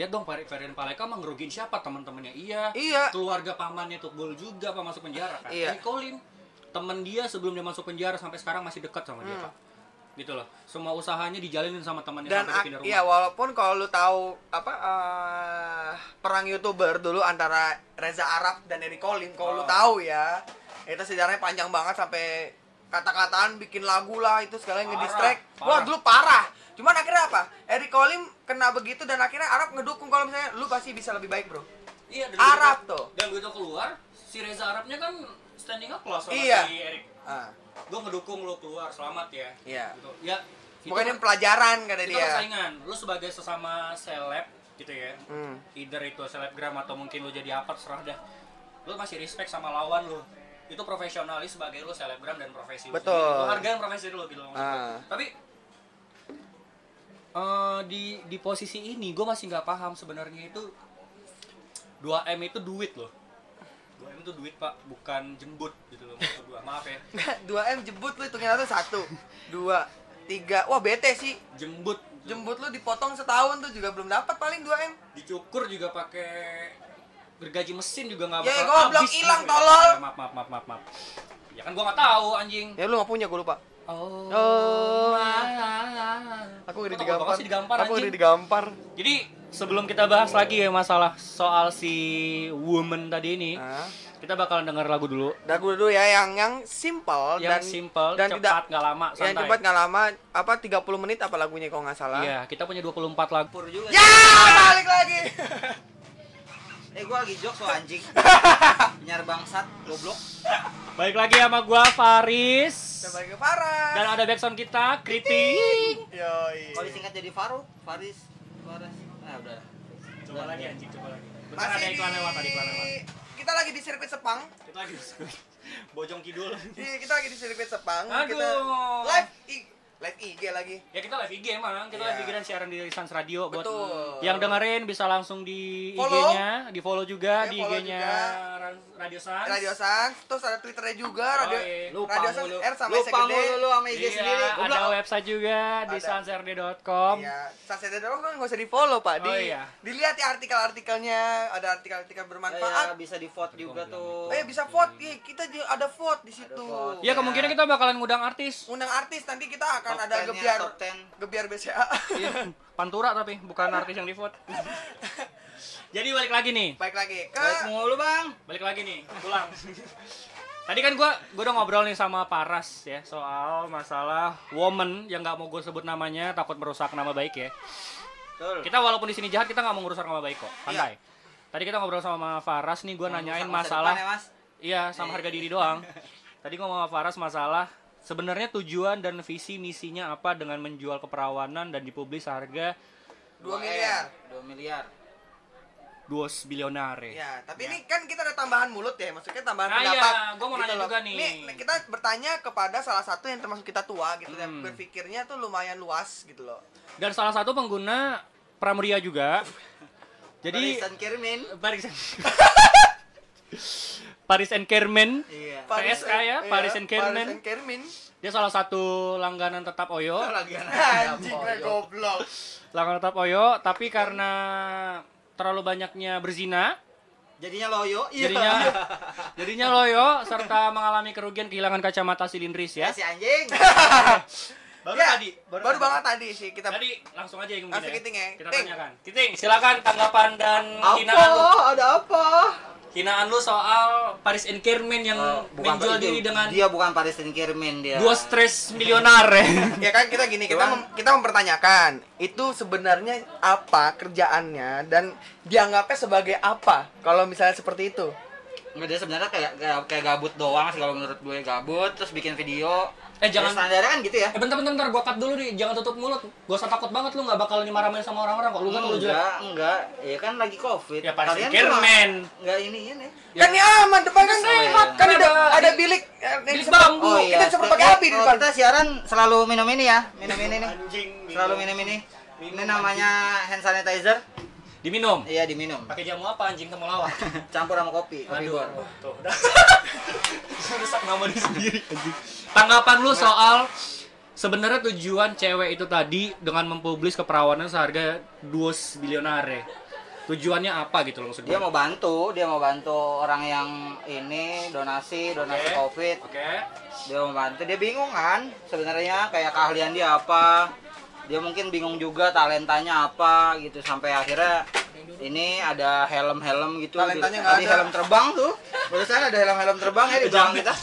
lihat dong Fer- Ferdinand Paleka emang ngerugiin siapa teman-temannya iya Iya. keluarga pamannya Tukbul juga apa masuk penjara kan Iya. Nikolin temen dia sebelum dia masuk penjara sampai sekarang masih dekat sama dia Pak. gitu loh semua usahanya dijalinin sama temannya Hmm. dan sampai dia ak- pindah rumah iya walaupun kalau lu tahu apa eh, perang YouTuber dulu antara Reza Arab dan Eric Colin, kalau lu Oh. tahu ya, itu sejarahnya panjang banget sampai kata-kataan bikin lagu lah itu segala yang Parah, ngedistract. parah. Wah, dulu parah. Cuman akhirnya apa? Eric Colin kena begitu dan akhirnya Arab ngedukung kalau misalnya lu pasti bisa lebih baik, Bro. Iya, dan Arab begitu- tuh. dan begitu keluar si Reza Arabnya kan standing applause sama Iya. si Erik Ah, gue ngedukung lo keluar selamat ya Iya. gitu. ya itu Bukan kan- yang pelajaran kata itu kan dia. persaingan lu sebagai sesama seleb gitu ya Hmm. [laughs] either itu selebgram atau mungkin lu jadi apa serah dah lu masih respect sama lawan lu itu profesionalis sebagai lu selebgram dan profesi lu Betul. sendiri. lu hargain profesi lu gitu loh Ah. tapi eh, di di posisi ini gue masih nggak paham sebenarnya itu 2 m itu duit loh 2 m itu duit pak bukan jembut gitu loh maksud gua. maaf ya 2M jebut lu hitungin satu satu, dua, tiga. Wah, bete sih. jembut Jembut lu dipotong setahun tuh juga belum dapat paling 2M. dicukur juga pakai bergaji mesin juga nggak Ya, bakal goblok, habis. hilang, Ya, tolol. maaf maaf maaf maaf maaf ya kan gua nggak tahu anjing Ya lu gak punya, gue lupa. oh, Oh. Gua Aku ngeri takut banget digampar. sih digampar Aku ngeri anjing. digampar. jadi sebelum kita bahas lagi ya masalah soal si woman tadi ini Hah? kita bakalan denger lagu dulu Dan gue dulu ya yang yang simple dan yang simple dan cepat tidak nggak lama santai yang cepat nggak lama apa 30 menit apa lagunya kalau nggak salah. iya kita punya 24 lagu Pur juga. Ya, balik lagi. Eh gua lagi jokes lo anjing. [laughs] Nyar bangsat, goblok. balik lagi sama gua Faris Kita balik ke Farah. dan ada backsound kita Kriting Yoi. Kalau disingkat jadi Faruk, Faris, Faris. Nah, udah. coba lagi anjing coba lagi bentar ada Masih di... iklan lewat ada iklan lewat Kita lagi di sirkuit Sepang. kita lagi [laughs] bojong [laughs] kidul Iya, kita lagi di sirkuit Sepang. Kita Aduh. live I... live IG lagi. ya kita live IG emang kita Iya. live IG dan siaran di Sans Radio buat Betul. yang dengerin bisa langsung di Follow. IG-nya di follow juga Ya, di follow IG-nya juga. Ran- Radio Sans Radio Sans, terus ada Twitternya Oh, juga, Radio Yoi. Lupa Radio Sans mulu. R sama S Lupa gede. mulu lu sama IG Iya, sendiri. ada Goblok. website juga di Ada. sansrd.com Iya, Saseda Doro kan nggak usah di follow pak. Di, Oh, iya. Dilihat ya artikel-artikelnya, ada artikel-artikel bermanfaat. Ya, bisa di vote juga Oh tuh. ya bisa vote, Iya, kita juga ada vote di situ. vote. ya kemungkinan kita bakalan ngundang artis Undang artis nanti kita akan Top ada 10-nya, gebiar top 10. gebiar [laughs] BCA. Iya, pantura tapi bukan artis yang di [laughs] vote jadi balik lagi nih Baik lagi ke Baik mulu, Bang. Ah. balik lagi nih pulang tadi kan gua gua udah ngobrol nih sama Paras ya soal masalah woman yang nggak mau gue sebut namanya takut merusak nama baik ya Betul. kita walaupun di sini jahat Iya. kita nggak mau merusak nama baik kok santai tadi kita ngobrol sama Faras nih gua nanyain Masa masalah depan ya, Mas. Iya, sama harga diri doang. Tadi gua ngomong sama Faras masalah sebenarnya tujuan dan visi misinya apa dengan menjual keperawanan dan dipublis harga 2 Iya. miliar. 2 miliar. dos bilionare. Iya, Ya, tapi ini kan kita ada tambahan mulut ya, maksudnya tambahan Nah, pendapat. Gitu iya, gua mau nanya loh. juga nih. Nih, kita bertanya kepada salah satu yang termasuk kita tua gitu dan Hmm. berpikirnya tuh lumayan luas gitu loh. Dan salah satu pengguna Pramuria juga. Jadi Barisan kirimin. Paris [laughs] Paris and Kermen. Iya. PSK ya, Paris and Kermen. Paris Iya, and Kermin. Dia salah satu langganan tetap Oyo. Lagi kan? [laughs] Anjing lah goblok. Langganan tetap Oyo, tapi karena terlalu banyaknya berzina, Jadinya loyo. Iya. jadinya jadinya loyo serta mengalami kerugian kehilangan kacamata silindris ya. Ya, si anjing. [laughs] Baru Ya, tadi, baru, baru tadi. banget tadi sih kita Tadi langsung aja yang Langsung kiting ya. Kita Ting. tanyakan. Kiting, silakan tanggapan dan apa? hinaan lu. Oh, Ada apa? Hinaan lu soal Paris and Kermen yang Eh, menjual itu. diri dengan dia bukan Paris and Kermen dia. dua stres [laughs] milioner. ya kan kita gini kita mem- kita mempertanyakan itu sebenarnya apa kerjaannya dan dianggapnya sebagai apa kalau misalnya seperti itu Nggak, dia sebenarnya kayak, kayak kayak gabut doang sih kalau menurut gue gabut terus bikin video. Eh, jangan- Ya, standarnya kan gitu ya. Eh bentar bentar bentar gua cut dulu nih, jangan tutup mulut. Gua usah takut banget lu nggak bakal dimarahin sama orang-orang kok. Lu kan lu jelek. enggak, enggak. Ya kan lagi Covid. Ya, Paris and tuh Kermen. Enggak ini ini. kan ini aman depan kan Ya. sehat, kan kan ada ada- ada bilik eh, yang iya. bilik disemprot bambu. bu. kita semprot pakai api di Kalau depan Oh, iya. Kita siaran selalu minum ini ya, minum ini nih. Selalu minum ini. Ini namanya hand sanitizer. Diminum. Iya, diminum. Pakai jamu apa anjing [laughs] temulawak? Campur sama kopi, kopi Aduh. luar. Tuh, udah. [laughs] Rusak nama dia sendiri anjing. Tanggapan lu soal sebenarnya tujuan cewek itu tadi dengan mempublis keperawanan seharga 2 bilionare. Tujuannya apa gitu loh maksud Dia gua? mau bantu, dia mau bantu orang yang ini donasi, donasi Oke. Covid. Oke. Dia mau bantu. Dia bingung kan sebenarnya kayak keahlian dia apa. Dia mungkin bingung juga talentanya apa gitu sampai akhirnya ini ada helm-helm gitu. Talentanya Di- nggak tadi ada. helm terbang tuh. Barusan ada helm-helm terbang ya di belakang kita. [laughs]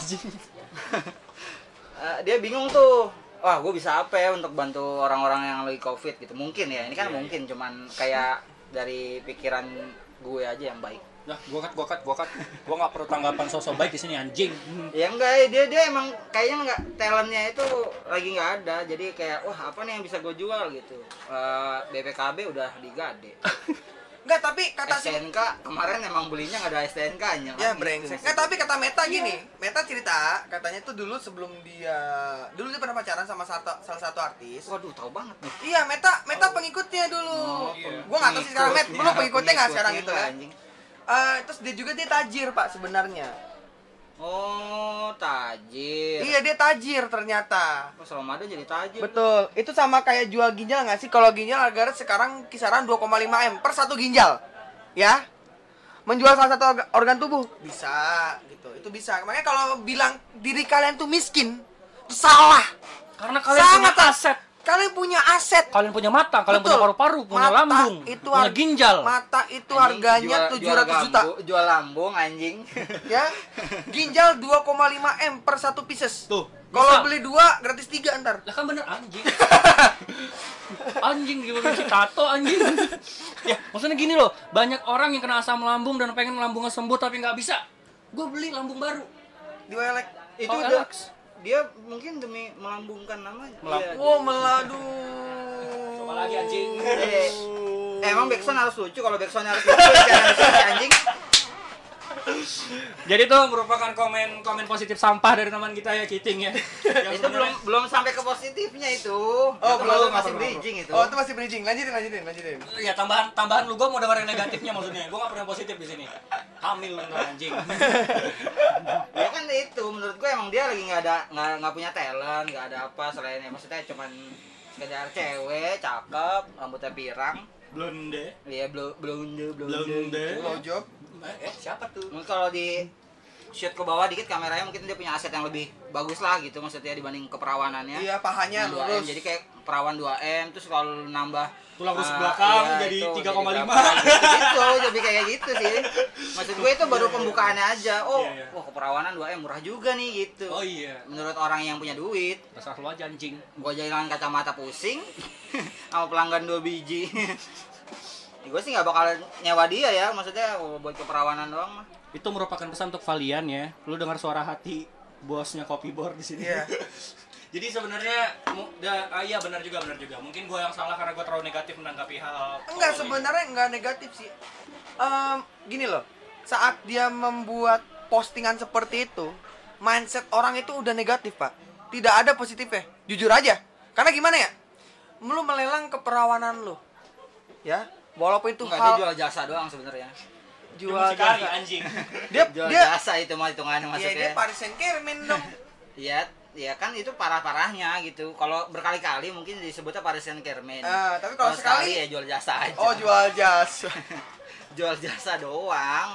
Eh, dia bingung tuh wah gue bisa apa ya untuk bantu orang-orang yang lagi covid gitu mungkin ya ini kan mungkin cuman kayak dari pikiran gue aja yang baik Nah, gua cut, gua cut, gua cut. Gua nggak perlu tanggapan sosok baik di sini anjing. ya enggak ya, dia dia emang kayaknya nggak talentnya itu lagi nggak ada jadi kayak wah apa nih yang bisa gue jual gitu Eh, BPKB udah digade Enggak, Eh, tapi kata Eh, si STNK kemarin emang belinya nggak ada STNK nya Iya, ya brengsek Enggak, tapi kata Meta gini Meta cerita katanya tuh dulu sebelum dia dulu dia pernah pacaran sama satu, salah satu artis waduh tahu banget nih Iya, Meta, Meta pengikutnya dulu. Iya. Gua nggak tahu sih sekarang Met, belum pengikutnya nggak sekarang gitu Oh, iya. ya. Pengikutnya anjing. Eh, terus dia juga dia tajir pak sebenarnya. oh tajir Iya dia tajir ternyata. Pas Ramadan jadi tajir. Betul. Itu sama kayak jual ginjal nggak sih? Kalau ginjal harga sekarang kisaran 2,5 m per satu ginjal, ya. Menjual salah satu orga- organ tubuh bisa gitu. Itu bisa. Makanya kalau bilang diri kalian tuh miskin, itu salah. Karena kalian Sangat punya aset. Kalian punya aset. Kalian punya mata, kalian Betul. punya paru-paru, punya Mata lambung, itu punya har- ginjal. Mata itu Anjing, harganya jual- 700 jual juta. gambu- Jual lambung [laughs] anjing. [laughs] ya ginjal 2,5 m per satu pieces Tuh, kalau bisa. beli dua gratis tiga ntar Lah kan bener anjing. anjing gimana sih tato anjing. ya, maksudnya gini loh, banyak orang yang kena asam lambung dan pengen lambungnya sembuh tapi nggak bisa. Gue beli lambung baru. diwelek Itu Oh, udah Alex. dia mungkin demi melambungkan nama. Melam- Iya. wow meladu Coba lagi anjing. Eh, emang backsound harus lucu kalau backsound [laughs] harus lucu jangan harus lucu, anjing. Jadi itu merupakan komen-komen positif sampah dari teman kita ya Kiting [laughs] ya. Yang itu belum sebenarnya- belum sampai ke positifnya itu. Oh, Itu belum, baru belum, masih belum. bridging itu. oh itu masih bridging lanjutin lanjutin lanjutin Ya tambahan tambahan lu gue mau dengar yang negatifnya maksudnya. Gue nggak pernah positif di sini. Hamil lu anjing. ya kan itu menurut gue emang dia lagi nggak ada nggak nggak punya talent nggak ada apa selain ya, maksudnya cuman sekedar cewek cakep rambutnya pirang Blonde. iya blonde blonde blonde Blonde. gitu. low job Eh, siapa tuh? Mungkin kalau di shoot ke bawah dikit kameranya mungkin dia punya aset yang lebih bagus lah gitu maksudnya dibanding keperawanannya. iya pahanya 2M, lurus Ya. jadi kayak perawan 2M terus kalau nambah Tulang rusuk ah, belakang iya, jadi itu, 3,5. berapa, gitu, jadi kayak gitu sih. Maksud gue itu baru pembukaannya aja. Oh, Iya, iya. wah keperawanan 2M murah juga nih gitu. Oh iya. Menurut orang yang punya duit, Dasar lu aja anjing. [laughs] gue jalan kacamata pusing sama pelanggan dua biji. gue sih nggak bakal nyewa dia ya maksudnya buat keperawanan doang mah Itu merupakan pesan untuk Valian ya. Lu dengar suara hati bosnya Copyboard di sini. Iya. [laughs] Jadi sebenarnya mu- da- ah, iya benar juga benar juga. Mungkin gua yang salah karena gua terlalu negatif menanggapi hal. Enggak sebenarnya enggak negatif sih. Em, gini loh, saat dia membuat postingan seperti itu, mindset orang itu udah negatif pak. Tidak ada positifnya, jujur aja. Karena gimana ya, lu melelang keperawanan lu, ya. Walaupun itu nggak dia hal jual jasa doang sebenarnya jual jual sekali jasa. [laughs] anjing. Dia jual dia jasa itu mah ya hitungannya maksudnya dia Paris Saint Germain dong. Iya, ya kan itu parah-parahnya gitu. Kalau berkali-kali mungkin disebutnya Paris Saint Germain. Ah, tapi kalau sekali- ya jual jasa aja. Oh jual jasa. [laughs] jual jasa doang.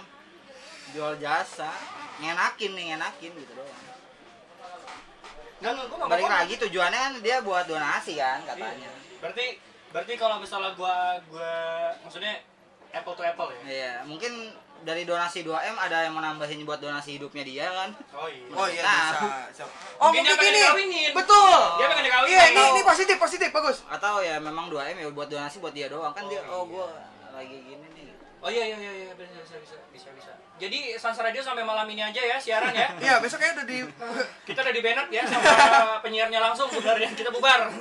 Jual jasa. Ngenakin nih, ngenakin gitu doang. Enggak, enggak, gua nggak Balik ngomong. lagi tujuannya kan dia buat donasi kan katanya. Berarti berarti kalau misalnya gua gua maksudnya apple to apple ya. Iya, mungkin dari donasi 2M ada yang menambahin buat donasi hidupnya dia kan. Oh iya. Oh iya Nah. bisa. Oh Mungkin mungkin, dia pengen ini. dikawinin. Betul. Dia pengen dikawinin. Iya ini Atau- ini positif positif bagus. Atau ya memang 2M ya buat donasi buat dia doang kan dia iya. Oh, oh gua lagi gini nih. Oh iya iya iya iya, bisa bisa bisa bisa bisa. Jadi Sans Radio sampai malam ini aja ya siaran ya. [laughs] Iya besok kayaknya udah di Kita udah di banner ya sama penyiarnya langsung sebenarnya kita bubar.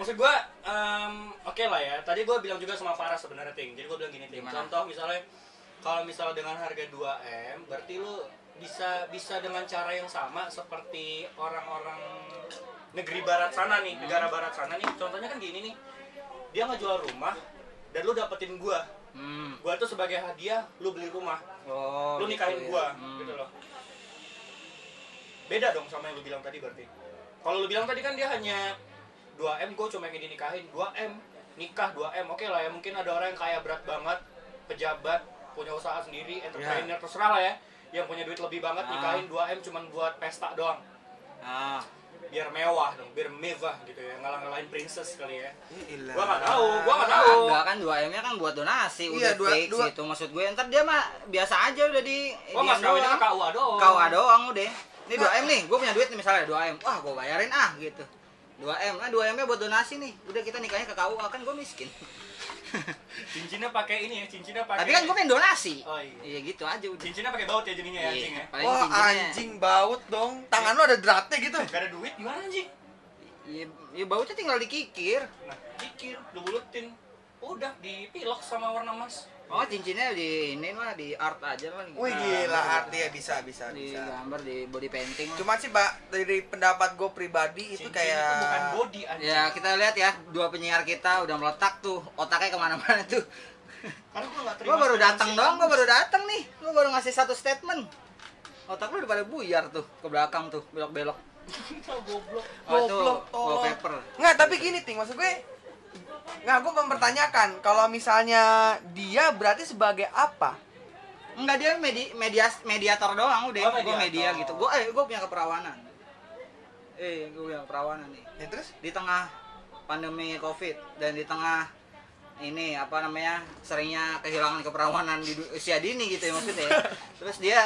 Maksud gua em, oke lah ya. Tadi gua bilang juga sama Farah sebenarnya Ting. Jadi gua bilang gini Ting. Gimana? Contoh misalnya kalau misalnya dengan harga 2M berarti lu bisa bisa dengan cara yang sama seperti orang-orang negeri barat sana nih, negara barat sana nih. Contohnya kan gini nih. Dia ngejual rumah dan lu dapetin gua Hmm. gua tuh sebagai hadiah lu beli rumah Oh. lu gitu nikahin ya. gua Hmm. gitu loh beda dong sama yang lu bilang tadi berarti kalau lu bilang tadi kan dia hanya 2M gua cuma ingin dinikahin 2M nikah 2M oke lah ya mungkin ada orang yang kaya berat banget pejabat punya usaha sendiri entrepreneur terserah lah ya yang punya duit lebih banget Ah. nikahin 2M cuman buat pesta doang Ah. biar mewah dong biar mewah gitu ya ngalah-ngalahin princess kali ya Gua gua nggak tahu gua nggak tahu Enggak kan 2 M nya kan buat donasi Iya, udah dua- fix dua- gitu maksud gue ntar dia mah biasa aja udah di gua mas kawinnya kan KUA doang KUA doang udah ini Nah. 2 M nih gue punya duit nih misalnya 2 M wah gue bayarin ah gitu 2 M ah 2 M nya buat donasi nih udah kita nikahnya ke KUA kan gue miskin cincinnya pakai ini ya cincinnya pakai tapi kan gue pengen donasi Oh, iya. gitu aja udah cincinnya pakai baut ya jadinya Iya. ya anjing ya paling Wah cincinnya- anjing baut dong. Tangan lu ada dratnya gitu. gak ada duit gimana anjing ya, ya bautnya tinggal dikikir nah dikir dibulutin udah dipilok sama warna emas oh cincinnya di ini lah di art aja lah Wih Nah, gila artinya bisa bisa di bisa. gambar di body painting lah. Cuma sih Pak dari pendapat gue pribadi itu Cincin kayak itu bukan body anjing Ya kita lihat ya dua penyiar kita udah meletak tuh otaknya kemana-mana tuh. karena gua gak terima Gua baru datang cincin. doang, gua [laughs] baru datang nih. Gua baru ngasih satu statement. Otak lu udah pada buyar tuh ke belakang tuh belok-belok. goblok Oh, itu Goblok, tolol. wallpaper. Nggak, tapi gini ting, maksud gue Nggak, gue mempertanyakan Kalau misalnya dia berarti sebagai apa? Enggak dia medi media mediator doang udah. Oh, gua mediator. media gitu. Gua eh gua punya keperawanan. Eh, gua punya keperawanan nih. Ya terus? Di tengah pandemi Covid dan di tengah ini apa namanya seringnya kehilangan keperawanan di du- usia dini gitu ya maksudnya [laughs] ya. terus dia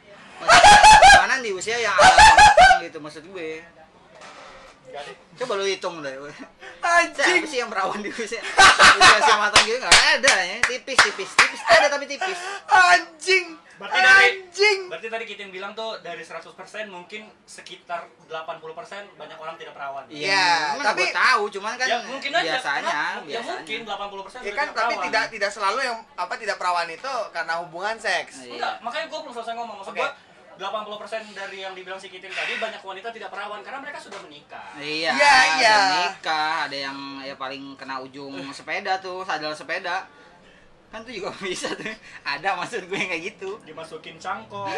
[laughs] masih keperawanan di usia yang alam gitu maksud gue gak deh coba lu hitung deh siapa Anjing! sih yang perawan di usia usia usia matang gitu nggak ada ya tipis tipis tipis ada tapi tipis Anjing! Berarti dari- Anjing! berarti tadi kita yang bilang tuh dari 100% mungkin sekitar 80% banyak orang tidak perawan Iya, emang tapi- gue tahu cuman kan ya mungkin aja biasanya kenapa? ya biasanya mungkin 80% Ya sudah kan, tapi perawan. tidak tidak selalu yang apa tidak perawan itu karena hubungan seks. Iya. Enggak, makanya gue belum selesai ngomong. Maksud Oke. gua 80% dari yang dibilang si Kitin tadi banyak wanita tidak perawan karena mereka sudah menikah. Iya, Iya, ada iya. nikah, ada yang ya paling kena ujung sepeda tuh, sadel sepeda. Kan tuh juga [laughs] bisa tuh. Ada maksud gue kayak gitu. Dimasukin [laughs] cangkol,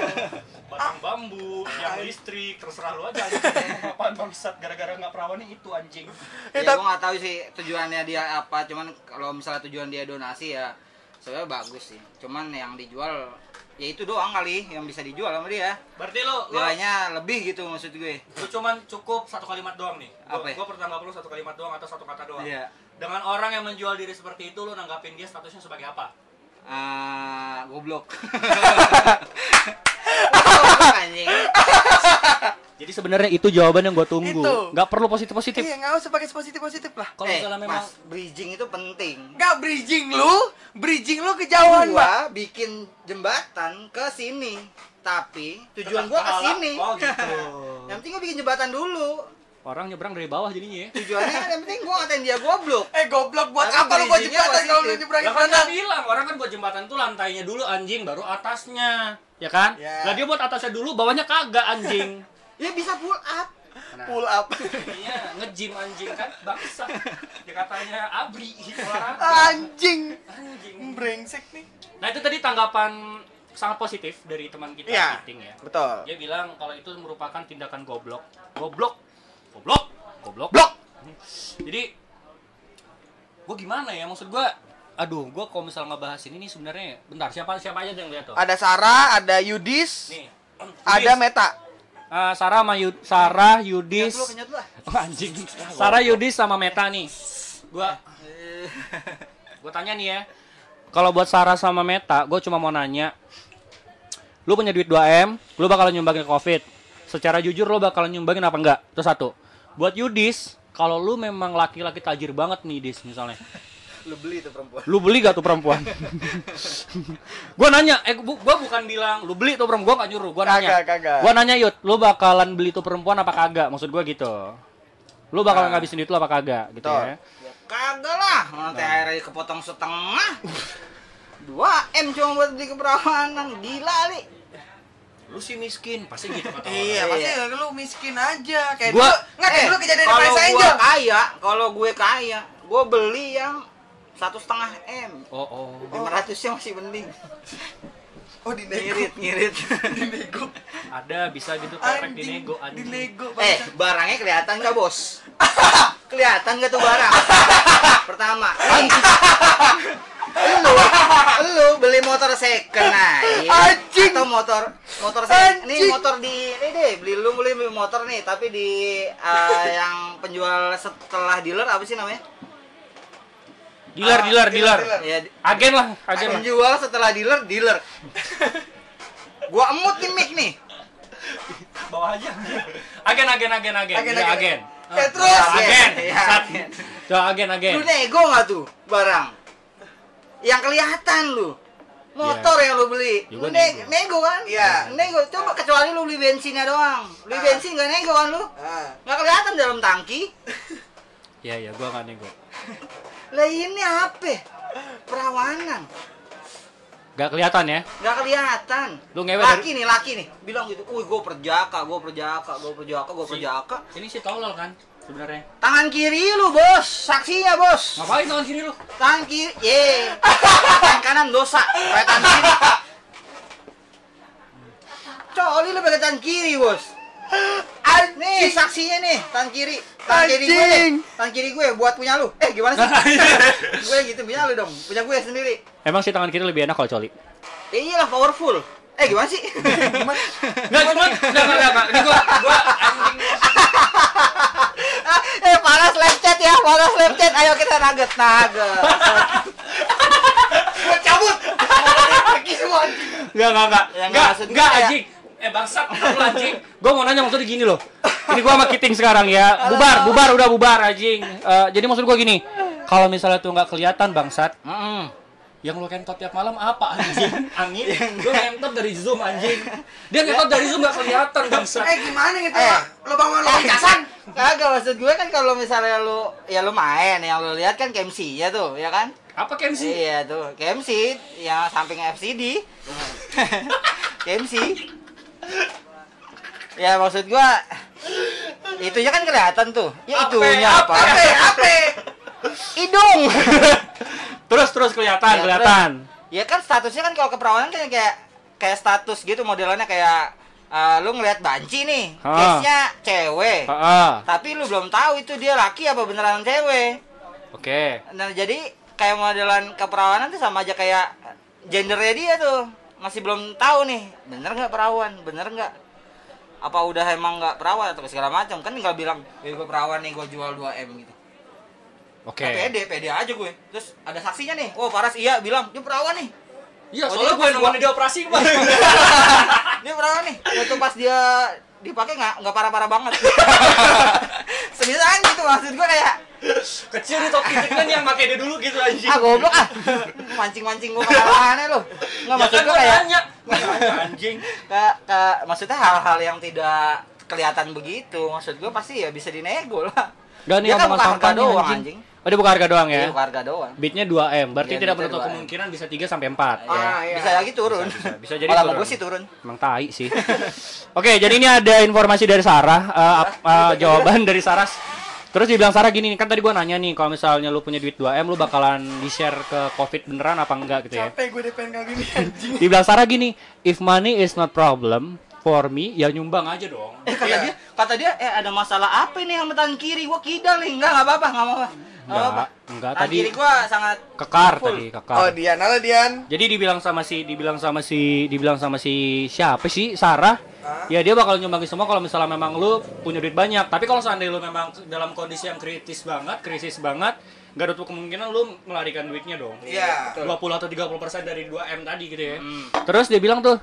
batang bambu, yang listrik, terserah lu aja. anjing. Apaan bangsat gara-gara nggak perawan nih itu anjing. Eh, Ya tapi- gue nggak tahu sih tujuannya dia apa, cuman kalau misalnya tujuan dia donasi ya sebenarnya bagus sih. Cuman yang dijual ya itu doang kali yang bisa dijual sama dia. Berarti lo, lo, Nilainya lebih gitu maksud gue. lo cuman cukup satu kalimat doang nih. Gua, Apa ya? gua pertama perlu satu kalimat doang atau satu kata doang. Iya. Dengan orang yang menjual diri seperti itu lo nanggapin dia statusnya sebagai apa? [laughs] Ah, goblok. Goblok, anjing. Jadi sebenarnya itu jawaban yang gue tunggu. Itu. Nggak perlu positif-positif. Iya, nggak usah pakai positif-positif lah. Kalau eh, misalnya memang Mas, bridging itu penting. Nggak bridging lu, bridging lu kejauhan, Pak. Gua bikin jembatan ke sini, tapi tujuan Tetap gua ke kalah. sini. Oh, gitu. [laughs] yang penting gua bikin jembatan dulu. orang nyebrang dari bawah jadinya ya. Tujuannya kan yang penting gua ngatain dia goblok. Eh goblok buat Tapi apa lu buat bridgingnya jembatan kalau lu positif. nyebrangin Lah kan mana? dia bilang orang kan buat jembatan tuh lantainya dulu anjing baru atasnya. Ya kan? Ya. Lah dia buat atasnya dulu bawahnya kagak [laughs] anjing. Ya bisa pull up. Nah, Pull [laughs] up. jadinya nge-gym anjing kan bangsa. [laughs] Ya katanya abri olahraga Anjing. anjing. Brengsek nih. Nah, itu tadi tanggapan sangat positif dari teman kita Iya. Kiting ya. Betul. Dia bilang kalau itu merupakan tindakan goblok. Goblok. Goblok. Goblok. Blok. Jadi gue gimana ya maksud gue aduh gue kalau misal ngebahas ini nih sebenarnya bentar siapa siapa aja yang lihat tuh Ada Sarah, ada Yudis, nih ada Meta. Eh, Sarah sama Yu- Sarah Yudis Kenyat lu, kenyat lu. ah. Oh, anjing Sarah Yudis sama Meta nih gua [laughs] gua tanya nih ya kalau buat Sarah sama Meta gue cuma mau nanya lu punya duit 2 m lu bakalan nyumbangin ke covid secara jujur lu bakalan nyumbangin apa enggak itu satu buat Yudis kalau lu memang laki-laki tajir banget nih Dis misalnya Lu beli tuh perempuan. lu beli gak tuh perempuan [laughs] gua nanya eh bu, gua bukan bilang lu beli tuh perempuan gua gak nyuruh gua nanya Kagak, kagak. gua nanya yud lu bakalan beli tuh perempuan apa kagak maksud gua gitu lu bakalan Nah. ngabisin duit lu apa kagak gitu Betul. ya Ya kagak lah, mana teh airnya kepotong setengah. 2 M cuma buat beli keperawanan, gila li. lu sih miskin pasti gitu kata Iya, pasti lu miskin aja kayak Gua- dulu. Enggak kayak Eh, dulu kejadian di kalau Paris gua kan Angel. kaya, kalau gue kaya, gue beli yang satu setengah M. oh oh 500 nya masih mending Oh, di ngirit ngirit Nego. ada bisa gitu perfect di Anjing. nego Di anjing Nego. [laughs] eh barangnya kelihatan nggak bos kelihatan nggak tuh barang pertama lu lu beli motor second aja Anjing. atau motor motor second ini Anjing. motor di ini deh beli lu beli motor nih tapi di eh, yang penjual setelah dealer apa sih namanya dealer dealer dealer ya di- agen lah agen lah penjual setelah dealer dealer gua emut nih mic nih bawa aja agen agen agen agen Agen, Ya, agen. agen Ya, Ah, terus. agen Ya, ya, Sat. agen. Ya, agen agen Lu nego nggak tuh barang? Yang kelihatan lu. Motor yang lu beli. Ya, Lu gua nego. ne- nego kan? Iya. Nego. Coba kecuali lu beli bensinnya doang. Beli Ah. bensin nggak nego kan lu? Ah. Nggak kelihatan dalam tangki. ya ya gua nggak nego Lah ini apa? Perawanan. nggak kelihatan ya Nggak kelihatan. Lu ngewe laki nih, laki nih. Bilang gitu, "Uy, gua perjaka, gua perjaka, gua perjaka, gua perjaka." Ini si tolol kan sebenarnya. Tangan kiri lu, Bos. Saksinya, Bos. Ngapain tangan kiri lu? Tangan kiri, ye. Tangan kanan dosa, pakai tangan kiri. Coli lu pakai tangan kiri, Bos. Nih, saksinya nih, tangan kiri. Tangan kiri gue nih. Anjing. Ah, iya. Tangan kiri gue buat punya lu. Eh, [laughs] gimana sih? gue gitu punya lu dong, punya gue sendiri. Emang si tangan kiri lebih enak kalau coli? Ya iyalah powerful. Eh, gimana [laughs] sih? Enggak cuma enggak enggak enggak. Ini gua gua anjing. eh, panas lepcet ya, panas lepcet. Ayo kita nugget, nugget. Gua [laughs] cabut. Pergi semua. Enggak enggak enggak. Ya, enggak, Enggak maksud enggak gua ya. anjing. Eh bangsat lu anjing. Gua mau nanya maksudnya gini loh. Ini gua sama Kiting sekarang ya. Bubar, bubar udah bubar anjing. Eh, jadi maksud gua gini. Kalau misalnya tuh nggak kelihatan bangsat, Heeh. yang lo kentot tiap malam apa anjing? Angin. Lu kentot dari Zoom anjing. Dia kentot dari Zoom nggak kelihatan bangsat. Eh gimana gitu, Eh. Pak? Lubang [laughs] mana lubang casan? Kagak maksud gue kan kalau misalnya lu ya lu main yang lu lihat kan KMC ya tuh, ya kan? Apa Kenzi? Iya tuh, KMC yang samping FCD. [laughs] KMC. Ya maksud gua itunya kan kelihatan tuh. Ya Ape, itunya apa? Ape, ape. Hidung. [laughs] Terus terus kelihatan, Ya, kelihatan. ya kan statusnya kan kalau keperawanan kan kayak kayak status gitu modelannya kayak eh, lu ngelihat banci nih, Ha. case-nya cewek. Heeh. Tapi lu belum tahu itu dia laki apa beneran cewek. Oke. Nah, jadi kayak modelan keperawanan tuh sama aja kayak gendernya dia tuh. Masih belum tahu nih, bener nggak perawan, bener nggak apa udah emang nggak perawan atau segala macam kan nggak bilang ya gue perawan nih gue jual 2 m gitu Oke. Nah, pede pede aja gue terus ada saksinya nih oh paras iya bilang dia perawan nih Iya, Oh, soalnya gue dia [laughs] pas nemuin gua- dia operasi, Pak. dia perawan nih waktu Nah, pas dia dipakai nggak nggak parah-parah banget [laughs] seriusan gitu maksud gue kayak Kecil di topi kan yang pakai dia dulu gitu anjing. ah goblok ah mancing-mancing gue [laughs] kemana-mana lo nggak maksud gue Ya kan gua kayak [laughs] nanya. anjing. ka- ka- maksudnya hal-hal yang tidak kelihatan begitu maksud gue pasti ya bisa dinego lah Gak nih Dia omongan kan bukan harga kampanye doang anjing. anjing Oh dia buka harga doang ya? Iya, bukan harga doang Beatnya 2M, berarti Iya, tidak beatnya menutup 2M. kemungkinan bisa 3 sampai 4 ya. Ah, iya. bisa lagi turun Bisa, [laughs] bisa. Bisa jadi Kalau sama turun. gue sih [laughs] turun Emang tai sih. Oke, jadi ini ada informasi dari Sarah, eh, [laughs] ap- Iya. eh, jawaban dari Sarah. Terus dibilang Sarah gini nih, kan tadi gua nanya nih kalau misalnya lu punya duit 2M lu bakalan di-share ke Covid beneran apa enggak gitu ya. Capek gue depan kali ini anjing. Dibilang Sarah gini, if money is not problem for me, ya nyumbang aja [laughs] dong. Eh, kata Iya. dia kata dia eh ada masalah apa nih sama tangan kiri gua kidal nih enggak enggak apa-apa enggak apa-apa Nggak apa-apa. Enggak, enggak tangan tadi kiri gua sangat kekar full. tadi, kekar. Oh, Dian, halo Dian. Jadi dibilang sama si dibilang sama si dibilang sama si siapa sih Sarah? Ya dia bakal nyumbangin semua kalau misalnya memang lu punya duit banyak. Tapi kalau seandainya lu memang dalam kondisi yang kritis banget, krisis banget, nggak ada tuh kemungkinan lu melarikan duitnya dong. Iya. 20 atau 30 persen dari 2 m tadi gitu ya. Hmm, Terus dia bilang tuh,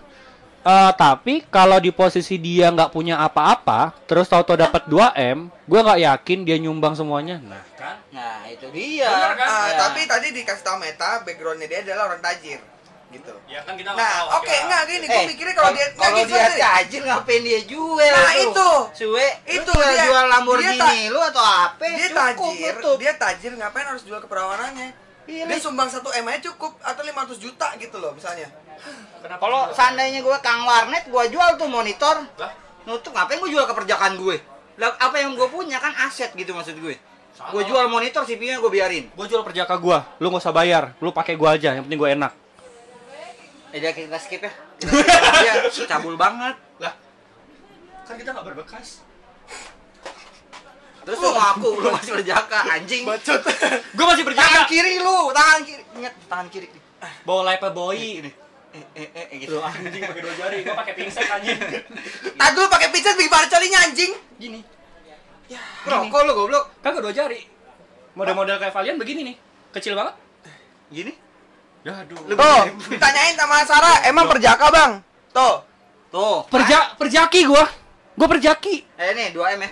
"Eh, tapi kalau di posisi dia nggak punya apa-apa, terus tahu-tahu dapat 2 m, gue nggak yakin dia nyumbang semuanya. Nah kan? nah itu dia Bener kan? Ah, Ya. tapi tadi dikasih tau Meta, backgroundnya dia adalah orang tajir. Gitu. Ya kan kita nggak tahu, Nah, oke, kita- enggak gini, gue Eh, mikirnya kalau dia enggak kalau gini, dia sorry. tajir ngapain dia jual Nah, tuh? itu. Suwe, Itu itu lu dia. jual Dia Lamborghini lu atau apa dia tajir, dia tajir ngapain harus jual keperawanannya? Iya, Dia Li. sumbang satu M aja cukup atau 500 juta gitu loh misalnya. Kenapa kalau lu- seandainya gua kang warnet gua jual tuh monitor Lah, nutup ngapain gue jual keperjakaan gue lah apa yang gue punya kan aset gitu maksud gue Sama. gue jual monitor CPU nya gue biarin Gue jual perjaka gua, lu gak usah bayar, lu pakai gua aja, yang penting gua enak. eh dia kita skip ya Kita skip [laughs] aja. Iya, cabul banget Lah, kan kita gak berbekas. terus lu ngaku lu masih perjaka anjing Bacot. Gua masih tangan berjaka. kiri lu tangan kiri ingat tangan kiri Bawa lepe boy. ini eh eh eh, eh Lu gitu ah. anjing pakai dua jari, gua pakai pingset anjing. Tadi dulu pakai pijat bagaimana caranya anjing? Gini, Ya, rokok lu goblok [laughs] kagak dua jari. Model-model kayak Valian begini nih, kecil banget. gini Aduh. Tuh, ditanyain sama Sarah, "Eh, emang perjaka, Bang? Tuh. tuh Perja perjaki gua. Gua perjaki. eh nih 2 m ya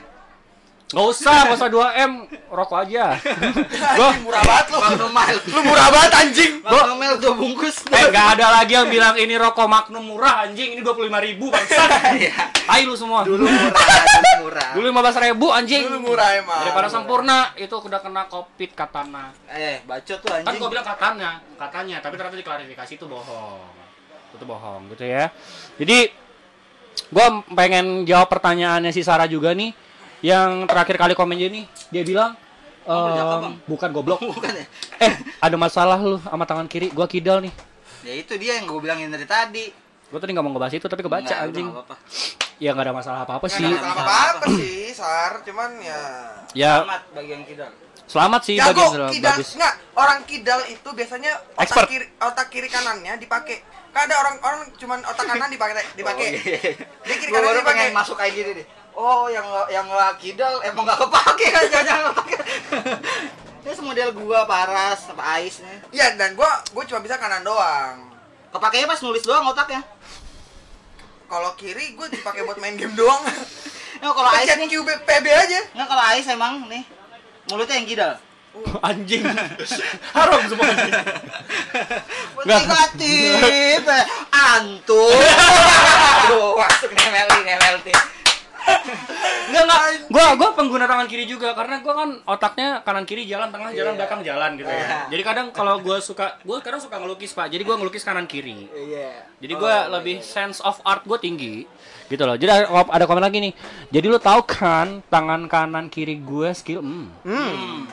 Gak usah, gak usah 2M, rokok [laughs] aja. gua Anjing murah banget lu. Magnum Mile Lu murah banget anjing. Magnum Mile dua bungkus Eh, gak ada lagi yang bilang ini rokok Magnum murah anjing, ini 25 ribu [laughs] bangsat. Iya. Tai lu semua. dulu murah dulu murah Dulu 15 ribu anjing. Dulu murah emang. Daripada Iya. sempurna itu udah kena covid katana. eh bacot tuh Kan anjing gua bilang katanya, katanya, tapi ternyata diklarifikasi itu bohong. Itu bohong gitu ya. Jadi gua pengen jawab pertanyaannya si Sarah juga nih yang terakhir kali komennya nih dia bilang berjaka, ehm, Oh, Bang? bukan goblok. bukan ya eh, ada masalah lu sama tangan kiri, gua kidal nih. ya itu dia yang gue bilangin dari tadi Gua tadi nggak mau ngebahas itu tapi kebaca Nggak, udah anjing. nggak apa-apa. Ya nggak ada masalah apa-apa sih. Nggak ada apa-apa sih, Sar, cuman ya Ya, Selamat bagi yang kidal. selamat sih bagi Jago kidal [laughs] bagus. enggak orang kidal itu biasanya otak Expert. kiri otak kiri kanannya dipakai. Kan ada orang orang cuman otak kanan dipakai dipakai. Oh, iya. Dia kiri Gua kanan baru dipakai. pengen masuk kayak gini deh. Oh, yang yang nggak kidal emang nggak kepake [laughs] kan jangan kepake. Terus model gua Paras apa Ais nih. Iya, dan gua gua cuma bisa kanan doang. Kepakainya pas nulis doang otaknya. Kalau kiri gua dipakai buat main game [laughs] doang. Nah, kalau Ais Pencet nih, QB PB aja. nah kalau Ais emang nih mulutnya yang kidal. [laughs] anjing. Haram semua anjing. Nggak. Negatif. eh. Antum. Aduh, masuk nih MLT, nih MLT. Enggak enggak. Gua gua pengguna tangan kiri juga karena gua kan otaknya kanan kiri jalan, tengah Iya. jalan, belakang jalan gitu ya. Jadi kadang kalau gua suka gua kadang suka ngelukis, Pak. Jadi gua ngelukis kanan kiri. Iya. Jadi gua Oh, lebih sense of art gua tinggi gitu loh. Jadi ada, ada komen lagi nih. Jadi lu tahu kan tangan kanan kiri gua skill hmm. Hmm.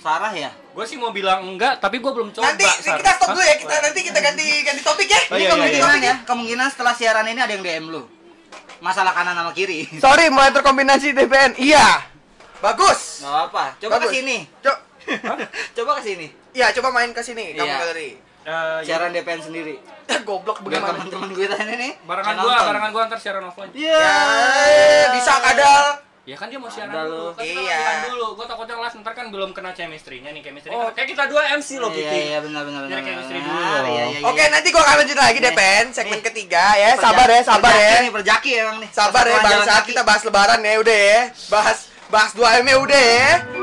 Sarah ya? Gua sih mau bilang enggak, tapi gua belum coba. Nanti Sar. kita stop Hah? dulu ya, kita nanti kita ganti ganti topik ya. Oh, iya, Ini iya, kemungkinan ya, kemungkinan setelah siaran ini ada yang DM lu. Masalah kanan sama kiri. Gak Sorry, mulai terkombinasi DPN. Iya. Bagus. apa, coba Bagus. ke sini. Cok. [laughs] Coba ke sini. Iya, coba main ke sini, kamu Iya. [laughs] galeri. Eh, ya. Siaran DPN sendiri. Goblok Biar bagaimana? teman-teman gue tanya nih. barengan yang gua, nonton. barengan gua ntar siaran offline. Iya. Ya, bisa kadal. Ya kan dia mau siaran Udah dulu, lu. kan kita Iya. latihan dulu. Gua takutnya live ntar kan belum kena chemistry-nya nih chemistry. kan- Oh. Kayak kita dua MC loh gitu. Iya, iya benar benar Nyari benar. chemistry benar. dulu. Iya, iya, iya. Oke, nanti gua akan lanjut lagi deh, Pen. Segmen Nih. ketiga ya. Sabar ya, sabar Perjaki ya. nih, Perjaki emang nih. Sabar ya, Perjalanan bang. Saat kaki. kita bahas lebaran ya, udah ya. Bahas bahas 2M ya, udah ya.